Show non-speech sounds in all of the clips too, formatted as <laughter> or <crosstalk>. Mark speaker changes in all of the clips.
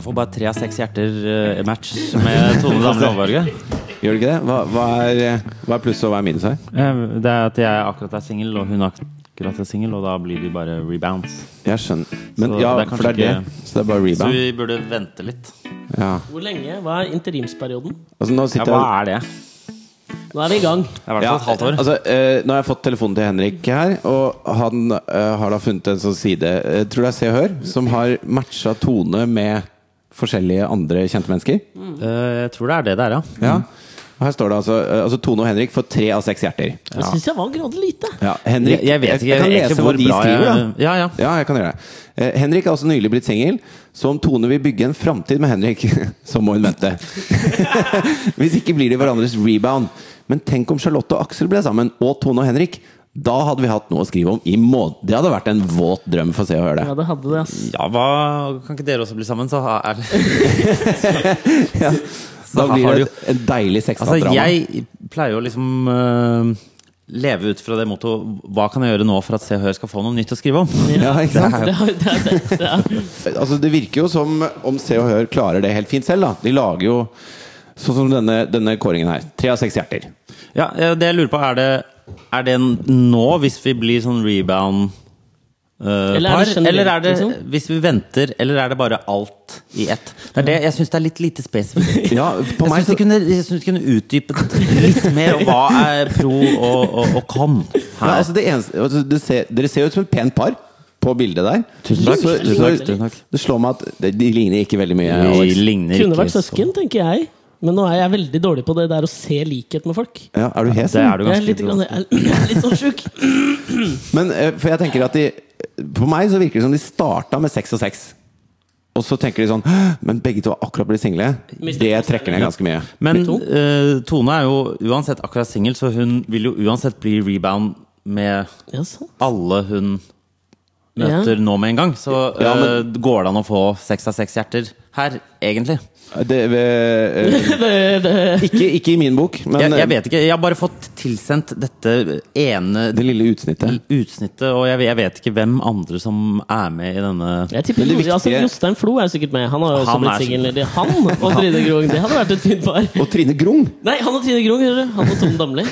Speaker 1: får bare tre av seks hjerter-match med Tone <laughs> Damli Aaberge.
Speaker 2: Gjør det ikke det? Hva, hva, er, hva er pluss og hva er minus her?
Speaker 1: Eh, Det er at jeg akkurat er singel, og hun akkurat er singel, og da blir de bare rebounds.
Speaker 2: Jeg skjønner. Men
Speaker 1: Så
Speaker 2: ja,
Speaker 1: det er
Speaker 2: for det er
Speaker 1: kanskje
Speaker 2: det. Så det er bare
Speaker 1: Så
Speaker 2: rebound.
Speaker 1: vi burde vente litt.
Speaker 2: Ja.
Speaker 3: Hvor lenge? Hva er interimsperioden?
Speaker 2: Altså, nå
Speaker 1: Ja,
Speaker 2: sitter
Speaker 1: hva
Speaker 2: jeg
Speaker 1: er det?
Speaker 3: Nå er vi i gang.
Speaker 1: Det er i hvert
Speaker 2: ja,
Speaker 1: fall et halvt år.
Speaker 2: altså, eh, nå har jeg fått telefonen til Henrik her, og han eh, har da funnet en sånn side, eh, tror det er Se og Hør, som har matcha Tone med forskjellige andre kjente mennesker.
Speaker 1: Eh, jeg tror det er det det er, ja.
Speaker 2: Ja. Og her står det altså, eh, altså Tone og Henrik får tre av seks hjerter.
Speaker 3: Det syns jeg var grådig lite.
Speaker 2: Ja, Henrik,
Speaker 1: Jeg, jeg vet ikke
Speaker 2: jeg kan lese
Speaker 1: egentlig
Speaker 2: hva
Speaker 1: hvor
Speaker 2: de
Speaker 1: bra
Speaker 2: skriver. da.
Speaker 1: jeg Ja, ja.
Speaker 2: Ja, jeg kan gjøre det. Eh, Henrik er også nylig blitt singel, så om Tone vil bygge en framtid med Henrik, <laughs> så må hun vente. <laughs> Hvis ikke blir de hverandres rebound. Men tenk om Charlotte og Aksel ble sammen, og Tone og Henrik. Da hadde vi hatt noe å skrive om i måned. Det hadde vært en våt drøm for Se og Hør det.
Speaker 3: Ja, det hadde det, ass.
Speaker 1: Ja, hva Kan ikke dere også bli sammen, så ha- er det
Speaker 2: <laughs> Ja. Da
Speaker 1: her har
Speaker 2: blir
Speaker 1: du
Speaker 2: det et- en deilig
Speaker 1: Altså,
Speaker 2: sexdrama.
Speaker 1: jeg pleier jo liksom eh, leve ut fra det mottoet Hva kan jeg gjøre nå for at Se og Hør skal få noe nytt å skrive om?
Speaker 2: ja, ikke sant?
Speaker 3: Det har, <laughs> det har jeg sett. Ja.
Speaker 2: Altså, det virker jo som om Se og Hør klarer det helt fint selv. Da. De lager jo sånn som denne, denne kåringen her. Tre av seks hjerter.
Speaker 1: <laughs> Ja, eh, det jeg lurer på, er det, er det en- nå, hvis vi blir sånn rebound eh,
Speaker 3: Eller er
Speaker 1: par,
Speaker 3: det generelt,
Speaker 1: eller er det
Speaker 3: liksom?
Speaker 1: hvis vi venter, eller er det bare alt i ett? Det er det, jeg syns det er litt lite
Speaker 3: <laughs>
Speaker 1: spesifikt.
Speaker 2: Ja, på
Speaker 1: jeg
Speaker 2: meg
Speaker 1: syns du
Speaker 2: så
Speaker 1: kunne, jeg synes du kunne utdypet litt mer om hva er pro og, og, og con
Speaker 2: Nei,
Speaker 1: her.
Speaker 2: altså det eneste, altså det ser, dere ser jo ut som et pent par på bildet der.
Speaker 1: Tusen takk.
Speaker 2: Så,
Speaker 3: Tusen
Speaker 2: så,
Speaker 3: takk, tusen
Speaker 1: takk.
Speaker 2: Det slår meg at de, de ligner ikke veldig mye.
Speaker 1: De
Speaker 2: Alex.
Speaker 1: ligner
Speaker 3: Kunne
Speaker 1: ikke
Speaker 3: vært søsken, tenker jeg. Men nå er jeg veldig dårlig på det der å se likhet med folk.
Speaker 2: Ja, er du hes?
Speaker 1: Det er du
Speaker 3: Jeg er
Speaker 1: ganske
Speaker 3: litt, grann, jeg er litt sånn sjuk.
Speaker 2: Men eh, for jeg tenker at de På meg så virker det som de starta med seks og seks. Og så tenker de sånn «Hæ, Men begge to har akkurat blitt single.
Speaker 3: Mistet
Speaker 2: Det trekker ned ganske mye.
Speaker 1: Men
Speaker 3: Med to.
Speaker 1: eh, Tone er jo uansett akkurat singel, så hun vil jo uansett bli rebound med
Speaker 3: Ja, sant.
Speaker 1: alle hun møter nå med en gang. Så
Speaker 2: Ja, men-
Speaker 1: eh, går det an å få seks av seks hjerter her, egentlig?
Speaker 2: Det, eh, ikke, ikke i min bok, men
Speaker 1: Jeg, jeg
Speaker 2: eh,
Speaker 1: vet ikke. Jeg har bare fått tilsendt dette ene
Speaker 2: det lille utsnittet.
Speaker 1: utsnittet, og jeg, jeg vet ikke hvem andre som er med i denne
Speaker 3: Jeg tipper
Speaker 2: Men det
Speaker 3: Jostein- altså,
Speaker 2: viktige-
Speaker 3: Jostein Flo er sikkert med. Han har jo også
Speaker 1: Han
Speaker 3: blitt
Speaker 1: er
Speaker 3: singel. Det er Han og Trine Grung, det hadde vært et fint par.
Speaker 2: Og Trine Grung.
Speaker 3: Nei, han og Trine Grung, hører du. Han og Tone Damli.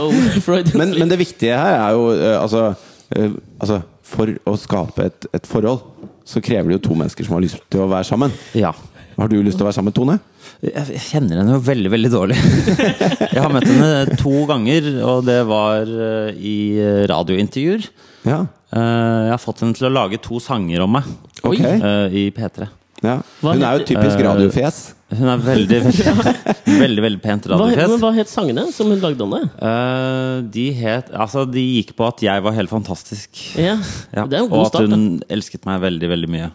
Speaker 3: Oh, Freud.
Speaker 2: Men, men det viktige her er jo eh, altså, eh, altså For å skape et, et forhold så krever det jo to mennesker som har lyst til å være sammen.
Speaker 1: Ja.
Speaker 2: Har du lyst til å være sammen, Tone?
Speaker 1: Jeg kjenner henne jo veldig, veldig dårlig. <laughs> Jeg har møtt henne to ganger, og det var eh, i radiointervjuer.
Speaker 2: Ja.
Speaker 1: Eh, Jeg har fått henne til å lage to sanger om meg
Speaker 2: Ok.
Speaker 1: eh, i P3.
Speaker 2: ja.
Speaker 3: Hva
Speaker 2: Hun er jo
Speaker 3: heter-
Speaker 1: Eh,
Speaker 2: typisk radiofjes.
Speaker 1: Hun er
Speaker 3: <laughs>
Speaker 1: veldig, veldig, veldig, veldig pent
Speaker 3: hva, men
Speaker 1: radiofjes.
Speaker 3: hva het sangene som hun lagde om det?
Speaker 1: Eh, de het Altså, de gikk på at jeg var helt fantastisk.
Speaker 3: Ja,
Speaker 1: Ja,
Speaker 3: Det er jo en
Speaker 1: og
Speaker 3: god
Speaker 1: at
Speaker 3: start. da.
Speaker 1: hun elsket meg veldig, veldig mye.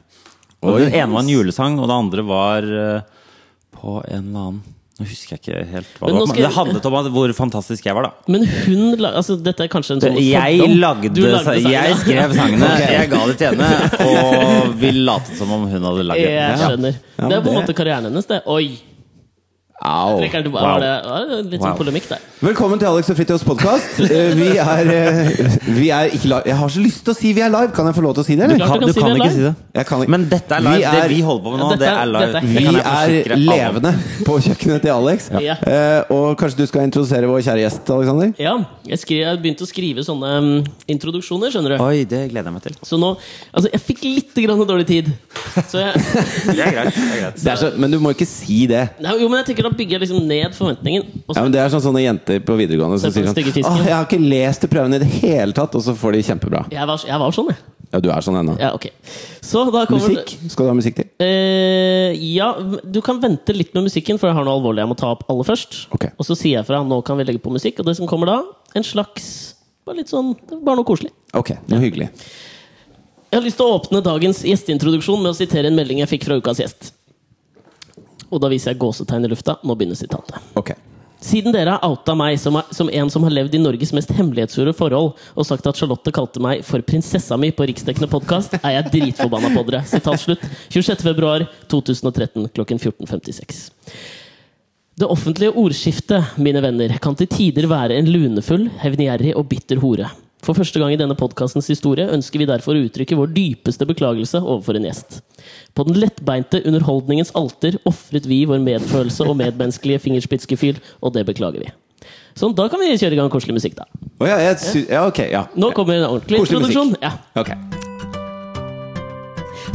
Speaker 1: Og Den ene var en julesang, og det andre var eh, på en eller annen Nå husker jeg ikke helt hva
Speaker 3: Men
Speaker 1: det var.
Speaker 3: nå
Speaker 1: Men
Speaker 3: skal
Speaker 1: det
Speaker 3: jeg-
Speaker 1: handlet om at, hvor fantastisk jeg var, da.
Speaker 3: Men hun la, altså, Dette er kanskje en sånn
Speaker 1: Jeg
Speaker 3: fordom.
Speaker 1: lagde,
Speaker 3: Du lagde
Speaker 1: sa-
Speaker 3: sangen, ja.
Speaker 1: Jeg
Speaker 3: <laughs>
Speaker 1: skrev sangene, jeg ga det til henne, og vi latet som om hun hadde lagd dem.
Speaker 2: Ja.
Speaker 3: Jeg skjønner.
Speaker 2: Ja, men
Speaker 3: det er på en
Speaker 2: det-
Speaker 3: måte karrieren hennes, det. Oi!
Speaker 2: Au.
Speaker 3: Trekker den tilbake.
Speaker 1: Wow.
Speaker 3: Var det, var det litt sånn
Speaker 1: Wow.
Speaker 3: polemikk der.
Speaker 2: Velkommen til Alex og Fritjofs podkast. Vi er, eh, vi er ikke live. Jeg har så lyst til å si vi er live! Kan jeg få lov til å si det,
Speaker 3: Du
Speaker 2: eller?
Speaker 3: klart
Speaker 1: Kan, du
Speaker 3: si
Speaker 1: kan
Speaker 3: det
Speaker 1: ikke
Speaker 3: live.
Speaker 1: si det.
Speaker 2: Jeg kan ikke.
Speaker 1: Men dette er
Speaker 2: Vi
Speaker 1: live.
Speaker 2: er-
Speaker 1: det vi holder på med nå,
Speaker 3: Ja, dette
Speaker 1: det
Speaker 3: er-
Speaker 1: er live.
Speaker 3: dette er
Speaker 1: Det
Speaker 2: Vi
Speaker 1: kan jeg
Speaker 2: er
Speaker 1: forsikre alle om.
Speaker 2: levende på kjøkkenet til Alex.
Speaker 3: Ja.
Speaker 2: Eh, og kanskje du skal introdusere vår kjære gjest, Alexander?
Speaker 3: Ja, jeg, skri, jeg begynte å skrive sånne mm, introduksjoner, skjønner du.
Speaker 1: Oi, det gleder jeg meg til.
Speaker 3: Så nå Altså, jeg fikk litt grann dårlig tid. Så jeg,
Speaker 1: <laughs> Det er greit. Det er greit.
Speaker 2: Det er så, men du må ikke si det.
Speaker 3: nei, jo, men jeg tenker da bygger jeg liksom ned forventningen. Og
Speaker 2: Ja,
Speaker 3: så,
Speaker 2: men Det er sånn sånne jenter på videregående som
Speaker 3: Se på
Speaker 2: sier
Speaker 3: den stygge
Speaker 2: sånn
Speaker 3: fisken.
Speaker 2: Åh, 'Jeg har ikke lest til prøven i det hele tatt', og så får de kjempebra.
Speaker 3: jeg, var, jeg var sånn, jeg.
Speaker 2: Ja, du er sånn ennå.
Speaker 3: Ja, ok. Så da kommer
Speaker 2: Musikk skal du ha musikk til.
Speaker 3: Eh, ja, du kan vente litt med musikken, for jeg har noe alvorlig jeg må ta opp aller først.
Speaker 2: Ok.
Speaker 3: Og så sier jeg fra nå kan vi legge på musikk, og det som kommer da, en slags bare litt sånn, bare noe koselig.
Speaker 2: Ok, noe hyggelig.
Speaker 3: Jeg har lyst til å åpne dagens gjesteintroduksjon med å sitere en melding jeg fikk fra ukas gjest. Og da viser jeg gåsetegn i lufta. Nå begynner sitatet.
Speaker 2: Ok
Speaker 3: Siden dere har outa meg som, er, som en som har levd i Norges mest hemmelighetsfulle forhold, og sagt at Charlotte kalte meg for prinsessa mi på riksdekkende podkast, er jeg dritforbanna på dere. Sitat slutt. 26.2.2013 klokken 14.56. Det offentlige ordskiftet, mine venner, kan til tider være en lunefull, hevngjerrig og bitter hore. For første gang i denne podkastens historie ønsker vi derfor å uttrykke vår dypeste beklagelse overfor en gjest. På den lettbeinte underholdningens alter ofret vi vår medfølelse og medmenneskelige fingerspitzgefühl, og det beklager vi. Sånn, da kan vi kjøre i gang koselig musikk, da.
Speaker 2: Å ja, jeg sy ja, ok. Ja.
Speaker 3: Nå kommer en ordentlig
Speaker 2: Koselig musikk.
Speaker 3: introduksjon. Ja.
Speaker 2: Ok.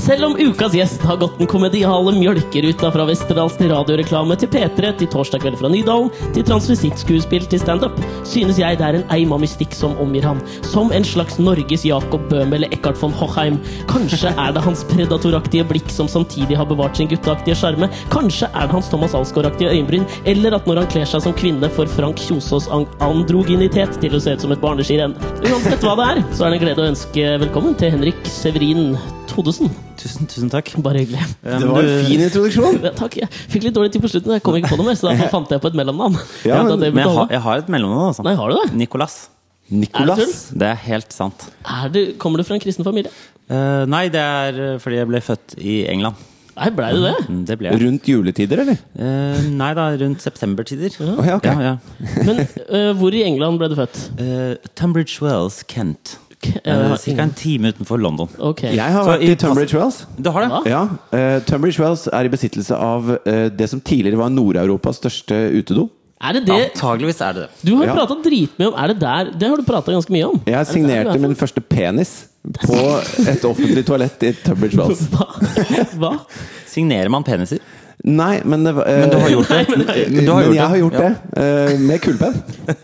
Speaker 3: Selv om ukas gjest har gått den komediale mjølkeruta fra Westerdals til radioreklame til P3 til torsdag kveld fra Nydalen til transvisittskuespill til standup, synes jeg det er en eim av mystikk som omgir ham. Som en slags Norges Jacob Bøhm eller Eckhart von Hochheim. Kanskje er det hans predatoraktige blikk som samtidig har bevart sin gutteaktige sjarme. Kanskje er det hans Thomas Alsgaard-aktige øyenbryn. Eller at når han kler seg som kvinne, får Frank Kjosås an- androgynitet til å se ut som et barneskirenn. Uansett hva det er, så er det en glede å ønske velkommen til Henrik Severin Todesen.
Speaker 1: Tusen, tusen takk.
Speaker 3: Bare hyggelig.
Speaker 1: Eh,
Speaker 2: Det
Speaker 1: men
Speaker 2: var
Speaker 1: du-
Speaker 2: en fin introduksjon.
Speaker 3: Ja, takk. Jeg fikk litt dårlig tid på slutten, jeg kom ikke på noe mer, så da fant jeg på et mellomnavn.
Speaker 2: Ja,
Speaker 3: Jeg vet
Speaker 2: men-
Speaker 3: at
Speaker 1: Men jeg,
Speaker 3: det burde
Speaker 1: har-
Speaker 3: holde.
Speaker 1: jeg har et mellomnavn, altså.
Speaker 3: Nei, har du det?
Speaker 1: Nicolas.
Speaker 3: Er det
Speaker 2: Nicolas.
Speaker 3: tull?
Speaker 1: Det er helt sant.
Speaker 3: Er du, kommer du fra en kristen familie?
Speaker 1: Eh, nei, det er eh, fordi jeg ble født i England.
Speaker 3: Nei, blei du det?
Speaker 1: Mm, Det ble jeg.
Speaker 2: Rundt juletider, eller?
Speaker 1: Eh, nei da, rundt septembertider.
Speaker 2: Å, ja, ok.
Speaker 1: Ja, ja.
Speaker 3: Men øh, hvor i England ble du født?
Speaker 1: Eh, Tunbridge Wells, Kent.
Speaker 3: K-
Speaker 1: Uh,
Speaker 3: øh,
Speaker 1: Ca. en time utenfor London.
Speaker 3: Ok.
Speaker 2: Eh, Jeg har
Speaker 1: Så
Speaker 2: vært
Speaker 1: i
Speaker 2: i Tunbridge Wells.
Speaker 1: Du har det?
Speaker 3: Hva?
Speaker 2: Ja, eh, Tunbridge Wells er i besittelse av eh, det som tidligere var Nord-Europas største utedo.
Speaker 3: Er det det
Speaker 1: Antageligvis er det det.
Speaker 3: du har
Speaker 2: Ja.
Speaker 3: prata dritmye om? Er det der? Det har du prata ganske mye om.
Speaker 2: Jeg signerte min første penis på et offentlig toalett i Tunbridge
Speaker 3: <laughs>
Speaker 2: Wells.
Speaker 3: Hva? <laughs> Hva?
Speaker 1: Signerer man peniser?
Speaker 2: Nei, men det var eh,
Speaker 1: Men du har gjort det?
Speaker 3: Nei, men-
Speaker 1: Men du har
Speaker 2: men
Speaker 1: gjort
Speaker 2: jeg har
Speaker 1: det.
Speaker 2: gjort
Speaker 1: Ja.
Speaker 2: det. eh, med kulepenn.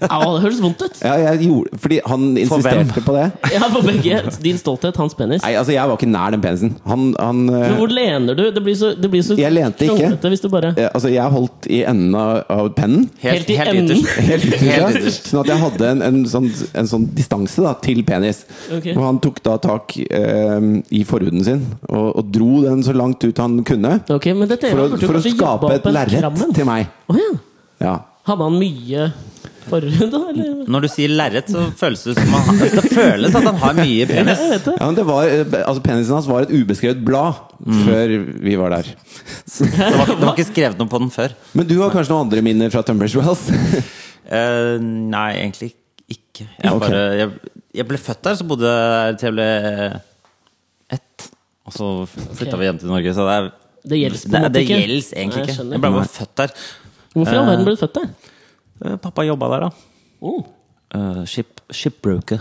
Speaker 3: Au, det høres vondt ut.
Speaker 2: Ja, jeg gjorde, fordi han
Speaker 1: For hvem?
Speaker 2: insisterte på det.
Speaker 3: Ja, for begge. Din stolthet, hans penis.
Speaker 2: Nei, altså, jeg var ikke nær den penisen. Han, han eh,
Speaker 3: Men hvor lener du? Det blir så, det blir så
Speaker 2: Jeg lente ikke.
Speaker 3: kronglete Hvis du bare
Speaker 2: eh, Altså, jeg holdt i enden av, av pennen.
Speaker 3: Helt i enden.
Speaker 1: ytterst.
Speaker 2: Helt
Speaker 1: Helt
Speaker 2: ytterst.
Speaker 1: ytterst.
Speaker 2: Sånn at jeg hadde en, en, sånn, en sånn distanse da, til penis.
Speaker 3: Ok.
Speaker 2: Og han tok da tak eh, i forhuden sin og, og dro den så langt ut han kunne.
Speaker 3: Ok, men dette
Speaker 2: For å,
Speaker 3: burde du
Speaker 2: for å
Speaker 3: kanskje
Speaker 2: skape
Speaker 3: jobba
Speaker 2: et
Speaker 3: opp en
Speaker 2: lerret
Speaker 3: krammen.
Speaker 2: til meg.
Speaker 3: Å ja.
Speaker 2: Ja.
Speaker 3: Hadde han mye forhud, da? Eller?
Speaker 1: Når du sier lerret, så føles det som han, det føles at han har mye penis.
Speaker 3: Jeg vet det.
Speaker 2: Ja, men det var, eh, altså Penisen hans var et ubeskrevet blad
Speaker 1: Mm.
Speaker 2: før vi var
Speaker 1: <laughs>
Speaker 2: der.
Speaker 1: Det var, det var ikke skrevet noe på den før.
Speaker 2: Men du har kanskje noen andre minner fra Tunbridge <laughs> Wells?
Speaker 1: Eh, nei, egentlig ikke. Jeg,
Speaker 2: Ok.
Speaker 1: bare, jeg, jeg ble født der, så bodde jeg der til jeg ble eh, ett. Og så flytta
Speaker 3: Ok.
Speaker 1: vi hjem til Norge, så det er
Speaker 3: Det gjelder på en
Speaker 1: det,
Speaker 3: måte
Speaker 1: det
Speaker 3: ikke.
Speaker 1: gjelder egentlig
Speaker 3: Nei, jeg
Speaker 1: ikke.
Speaker 3: skjønner.
Speaker 1: Jeg ble bare født der.
Speaker 3: Hvorfor i all verden ble du født der?
Speaker 1: Eh, Pappa jobba der, da.
Speaker 3: Oh.
Speaker 1: Eh, ship, shipbroker.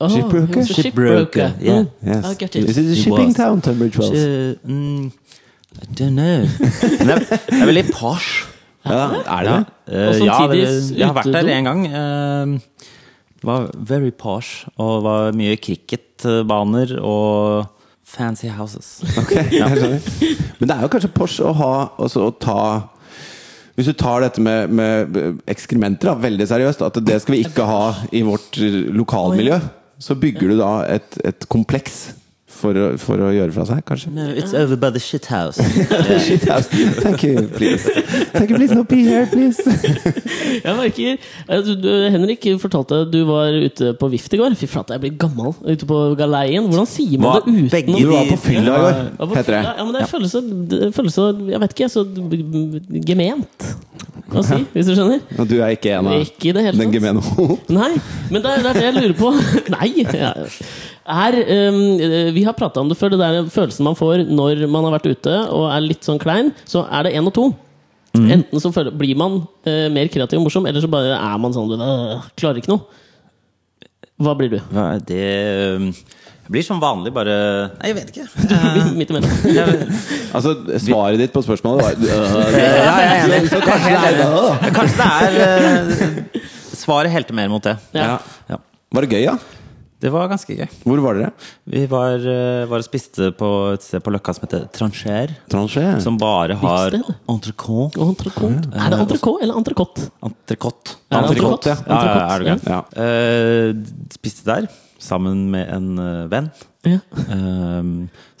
Speaker 3: Oh,
Speaker 2: Shipbroker?
Speaker 3: he was a
Speaker 1: Shipbroker, yeah.
Speaker 3: Mm.
Speaker 2: Yes.
Speaker 3: I get
Speaker 2: This is
Speaker 3: it.
Speaker 2: a
Speaker 1: It
Speaker 2: shipping
Speaker 1: was.
Speaker 2: town, Tunbridge Wells.
Speaker 1: Eh, mm, I don't know. <laughs> Men det er, det er veldig posh.
Speaker 2: Ja, er det
Speaker 1: Ja,
Speaker 2: det?
Speaker 1: eh,
Speaker 3: Og
Speaker 1: ja det,
Speaker 3: samtidig
Speaker 1: jeg har vært der
Speaker 3: utedo.
Speaker 1: en gang. eh, Det var very posh, og det var mye cricketbaner og fancy houses.
Speaker 2: Ok, <laughs> jeg skjønner. Men det er jo kanskje Porsche å ha altså, å ta hvis du tar dette med, med ekskrementer da, veldig seriøst, at det skal vi ikke ha i vårt eh, lokalmiljø, så bygger du da et, et kompleks for å, for å gjøre fra seg, kanskje.
Speaker 1: No, it's over by the shit house.
Speaker 2: Shit, house. <laughs> Thank you, please. Thank you, please, no pee here, please.
Speaker 3: Jeg merker eh, du, du, Henrik fortalte at du var ute på vift i går. Fy flate, jeg blir gammel ute på galeien. Hvordan sier man
Speaker 1: Hva?
Speaker 3: det uten
Speaker 1: Begge
Speaker 3: å-
Speaker 1: de-
Speaker 2: Du var på fylla i
Speaker 1: Ja,
Speaker 2: går, heter det.
Speaker 3: Ja, men det føles så, det føles så Jeg vet ikke, så gement å
Speaker 2: <laughs>
Speaker 3: si, hvis du skjønner.
Speaker 2: <laughs> Og du er ikke en av
Speaker 3: Ikke i det hele
Speaker 2: den
Speaker 3: tatt.
Speaker 2: gemene <laughs> homo.
Speaker 3: Nei, men det er det, er det jeg lurer på. <laughs> Nei! ja. Er, ehm, vi har prata om det før, det der følelsen man får når man har vært ute og er litt sånn klein. Så er det én og to. Enten så føler, blir man eh, mer kreativ og morsom, eller så bare er man sånn øh, Klarer ikke noe. Hva blir du? <laughs>
Speaker 1: Hva er Det um, jeg blir som vanlig bare Nei, jeg vet ikke.
Speaker 3: Midt imellom.
Speaker 1: Jeg,
Speaker 2: Altså, svaret ditt på spørsmålet var øh,
Speaker 1: Ja, jeg er enig.
Speaker 2: <laughs> Så kanskje det er det, da.
Speaker 1: Eh, Kanskje det er eh, Svaret helte mer mot det.
Speaker 3: Ja.
Speaker 1: Ja.
Speaker 2: Var det gøy, da?
Speaker 1: Det var ganske gøy.
Speaker 2: Hvor var dere?
Speaker 1: Vi var, eh, var og spiste på et sted på Løkka som heter Trancher.
Speaker 2: Tranché?
Speaker 1: Som bare har
Speaker 3: Livssted?
Speaker 1: entrecôte.
Speaker 3: Og entrecôte. Er det entrecôte eller entrecôte?
Speaker 1: Entrecôte.
Speaker 3: Er det
Speaker 2: Entrecôte, ja.
Speaker 1: Ja, ja, er du
Speaker 3: Entrecôte,
Speaker 1: gæren.
Speaker 2: Ja.
Speaker 1: Eh, spiste der sammen med en eh, venn.
Speaker 3: ja.
Speaker 1: eh,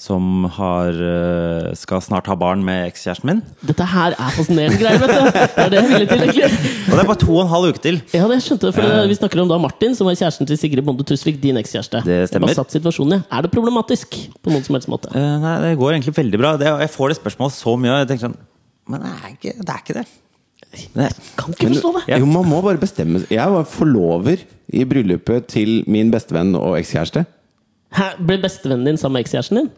Speaker 1: som har eh, skal snart ha barn med ekskjæresten min.
Speaker 3: Dette her er fascinerende greier, vet du. Det er det jeg ville til, egentlig.
Speaker 1: Og det er bare to og en halv uke til!
Speaker 3: Ja, det skjønte jeg, for
Speaker 1: Eh.
Speaker 3: det- Vi snakker om da Martin, som var kjæresten til Sigrid Bonde Tusvik, din ekskjæreste.
Speaker 1: Det stemmer.
Speaker 3: Bare satt situasjonen, ja. Er det problematisk på noen som helst måte?
Speaker 1: Eh, nei, det går egentlig veldig bra. Det, jeg får det spørsmålet så mye, og jeg tenker sånn Men det er ikke det. Er ikke det. Nei.
Speaker 3: Kan ikke forstå det!
Speaker 2: Jo, man må bare bestemme seg. Jeg var forlover i bryllupet til min bestevenn og ekskjæreste.
Speaker 3: Hæ, Ble bestevennen din sammen med ekskjæresten din?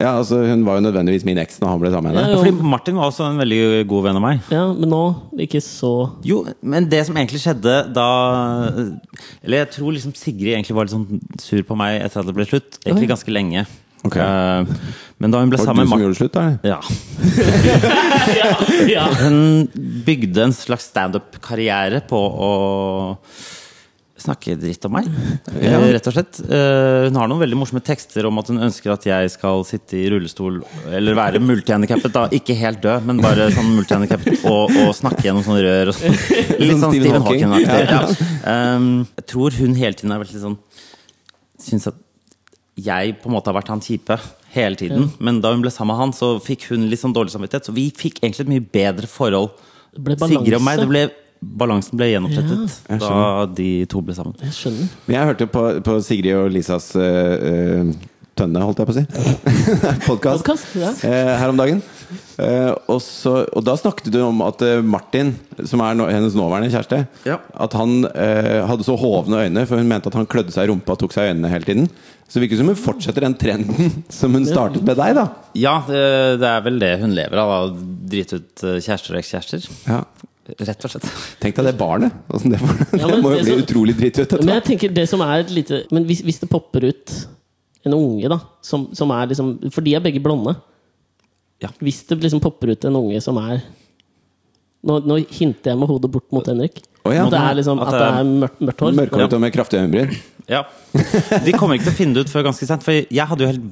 Speaker 2: Ja, altså, hun var jo nødvendigvis min eks når han ble sammen med henne.
Speaker 1: Ja, fordi Martin var også en veldig god venn av meg.
Speaker 3: Ja, men nå ikke så
Speaker 1: <laughs> Jo, men det som egentlig skjedde da Eller jeg tror liksom Sigrid egentlig var litt sånn sur på meg etter at det ble slutt. Egentlig ganske lenge.
Speaker 2: Ok.
Speaker 1: Eh, men da hun ble
Speaker 2: Var
Speaker 1: sammen
Speaker 2: det du
Speaker 1: med
Speaker 2: som
Speaker 1: Martin
Speaker 2: gjorde det slutt, da? eller?
Speaker 1: ja.
Speaker 3: Ja, ja.
Speaker 1: Hun bygde en slags standup-karriere på å snakke dritt om meg, eh, rett og slett. Eh, Hun har noen veldig morsomme tekster om at hun ønsker at jeg skal sitte i rullestol, eller være multihandikappet, da. Ikke helt død, men bare sånn multihandikappet, og, og snakke gjennom sånne rør og
Speaker 2: <laughs>
Speaker 1: sånn. Litt
Speaker 2: Sånn
Speaker 1: sånn
Speaker 2: Stephen
Speaker 1: Stephen
Speaker 2: Hawking.
Speaker 1: Hawking-aktig. Ja. Ehm, Jeg tror hun hele tiden har vært litt sånn Syns at jeg på en måte har vært han kjipe hele tiden. Men da hun ble sammen med han, så fikk hun litt sånn dårlig samvittighet. Så vi fikk egentlig et mye bedre forhold.
Speaker 3: Det ble
Speaker 1: Sigrid og meg,
Speaker 3: balanse.
Speaker 1: det ble, balansen ble gjenopprettet da de to ble sammen.
Speaker 3: Jeg skjønner.
Speaker 2: Men Jeg hørte på, på Sigrid og Lisas øh, øh, tønne, holdt jeg på å si. Podkast.
Speaker 3: Podcast, ja.
Speaker 2: eh, her om dagen. Eh, og, så, og da snakket du om at eh, Martin, som er nå- hennes nåværende kjæreste,
Speaker 1: Ja.
Speaker 2: at han eh, hadde så hovne øyne, for hun mente at han klødde seg i rumpa og tok seg i øynene hele tiden. Så det virker som hun fortsetter den trenden <laughs> som hun startet med deg, da.
Speaker 1: Ja, det, det er vel det hun lever av. da. Å drite ut eh, kjærester og ekskjærester.
Speaker 2: Ja.
Speaker 1: Rett og slett. <laughs>
Speaker 2: Tenk deg det barnet. Åssen det, får-
Speaker 3: Ja, men
Speaker 2: <laughs> det må jo
Speaker 3: det
Speaker 2: bli
Speaker 3: som-
Speaker 2: utrolig dritt ut.
Speaker 3: Men jeg tenker det som er et lite Men hvis, hvis det popper ut en unge, da, som, som er liksom For de er begge blonde.
Speaker 1: Ja.
Speaker 3: Hvis det liksom popper ut en unge som er Nå, nå hinter jeg med hodet bort mot Henrik.
Speaker 2: Å ja.
Speaker 3: At det er, liksom, at det er mørkt, mørkt hår.
Speaker 2: Mørkhåret og med kraftige øyenbryn.
Speaker 1: Ja. De kommer ikke til å finne det ut før ganske sent. For jeg hadde jo helt,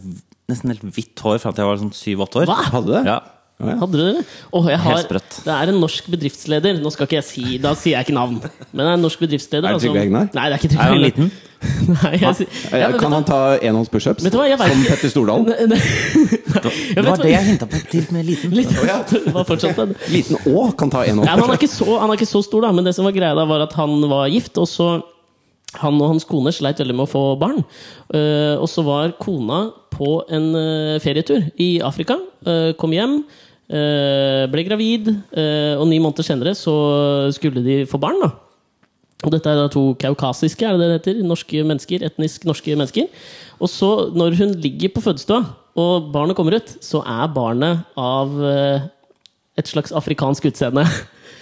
Speaker 1: nesten helt hvitt hår fram til jeg var sånn syv-åtte år.
Speaker 3: Hva?
Speaker 2: Hadde det?
Speaker 1: Ja.
Speaker 3: Hadde du det? Åh, jeg har,
Speaker 1: Helt sprøtt.
Speaker 3: det er en norsk bedriftsleder. Nå skal ikke jeg si Da sier jeg ikke navn. Men det er en norsk bedriftsleder.
Speaker 2: Er det
Speaker 3: da, som-
Speaker 2: Trygve Hegnar?
Speaker 3: Nei, det er
Speaker 1: Er
Speaker 3: ikke Trygve
Speaker 1: han
Speaker 3: Hegnar.
Speaker 1: liten?
Speaker 3: <laughs> Nei, jeg, sier-
Speaker 2: Eh,
Speaker 3: ja, men
Speaker 2: Kan
Speaker 3: vet,
Speaker 2: han ta enhånds pushups?
Speaker 3: vet du hva, jeg vet
Speaker 2: Som Petter Stordalen?
Speaker 3: <laughs> Nei, nei.
Speaker 1: Det var det jeg hinta på til med liten.
Speaker 3: Litt, det var fortsatt en
Speaker 2: Liten Å kan ta
Speaker 3: Ja, men han, er
Speaker 2: enhånds
Speaker 3: ikke så, han er ikke så stor, da. Men det som var greia da, var at han var gift. Og så Han og hans kone sleit veldig med å få barn. Eh, og så var kona på en eh, ferietur i Afrika. eh, kom hjem. eh, ble gravid. eh, og ni måneder senere så skulle de få barn, da. Og dette er da to kaukasiske, er det det det heter? Norske mennesker, etnisk norske mennesker. Og så, når hun ligger på fødestua, og barnet kommer ut, så er barnet av eh, et slags afrikansk utseende.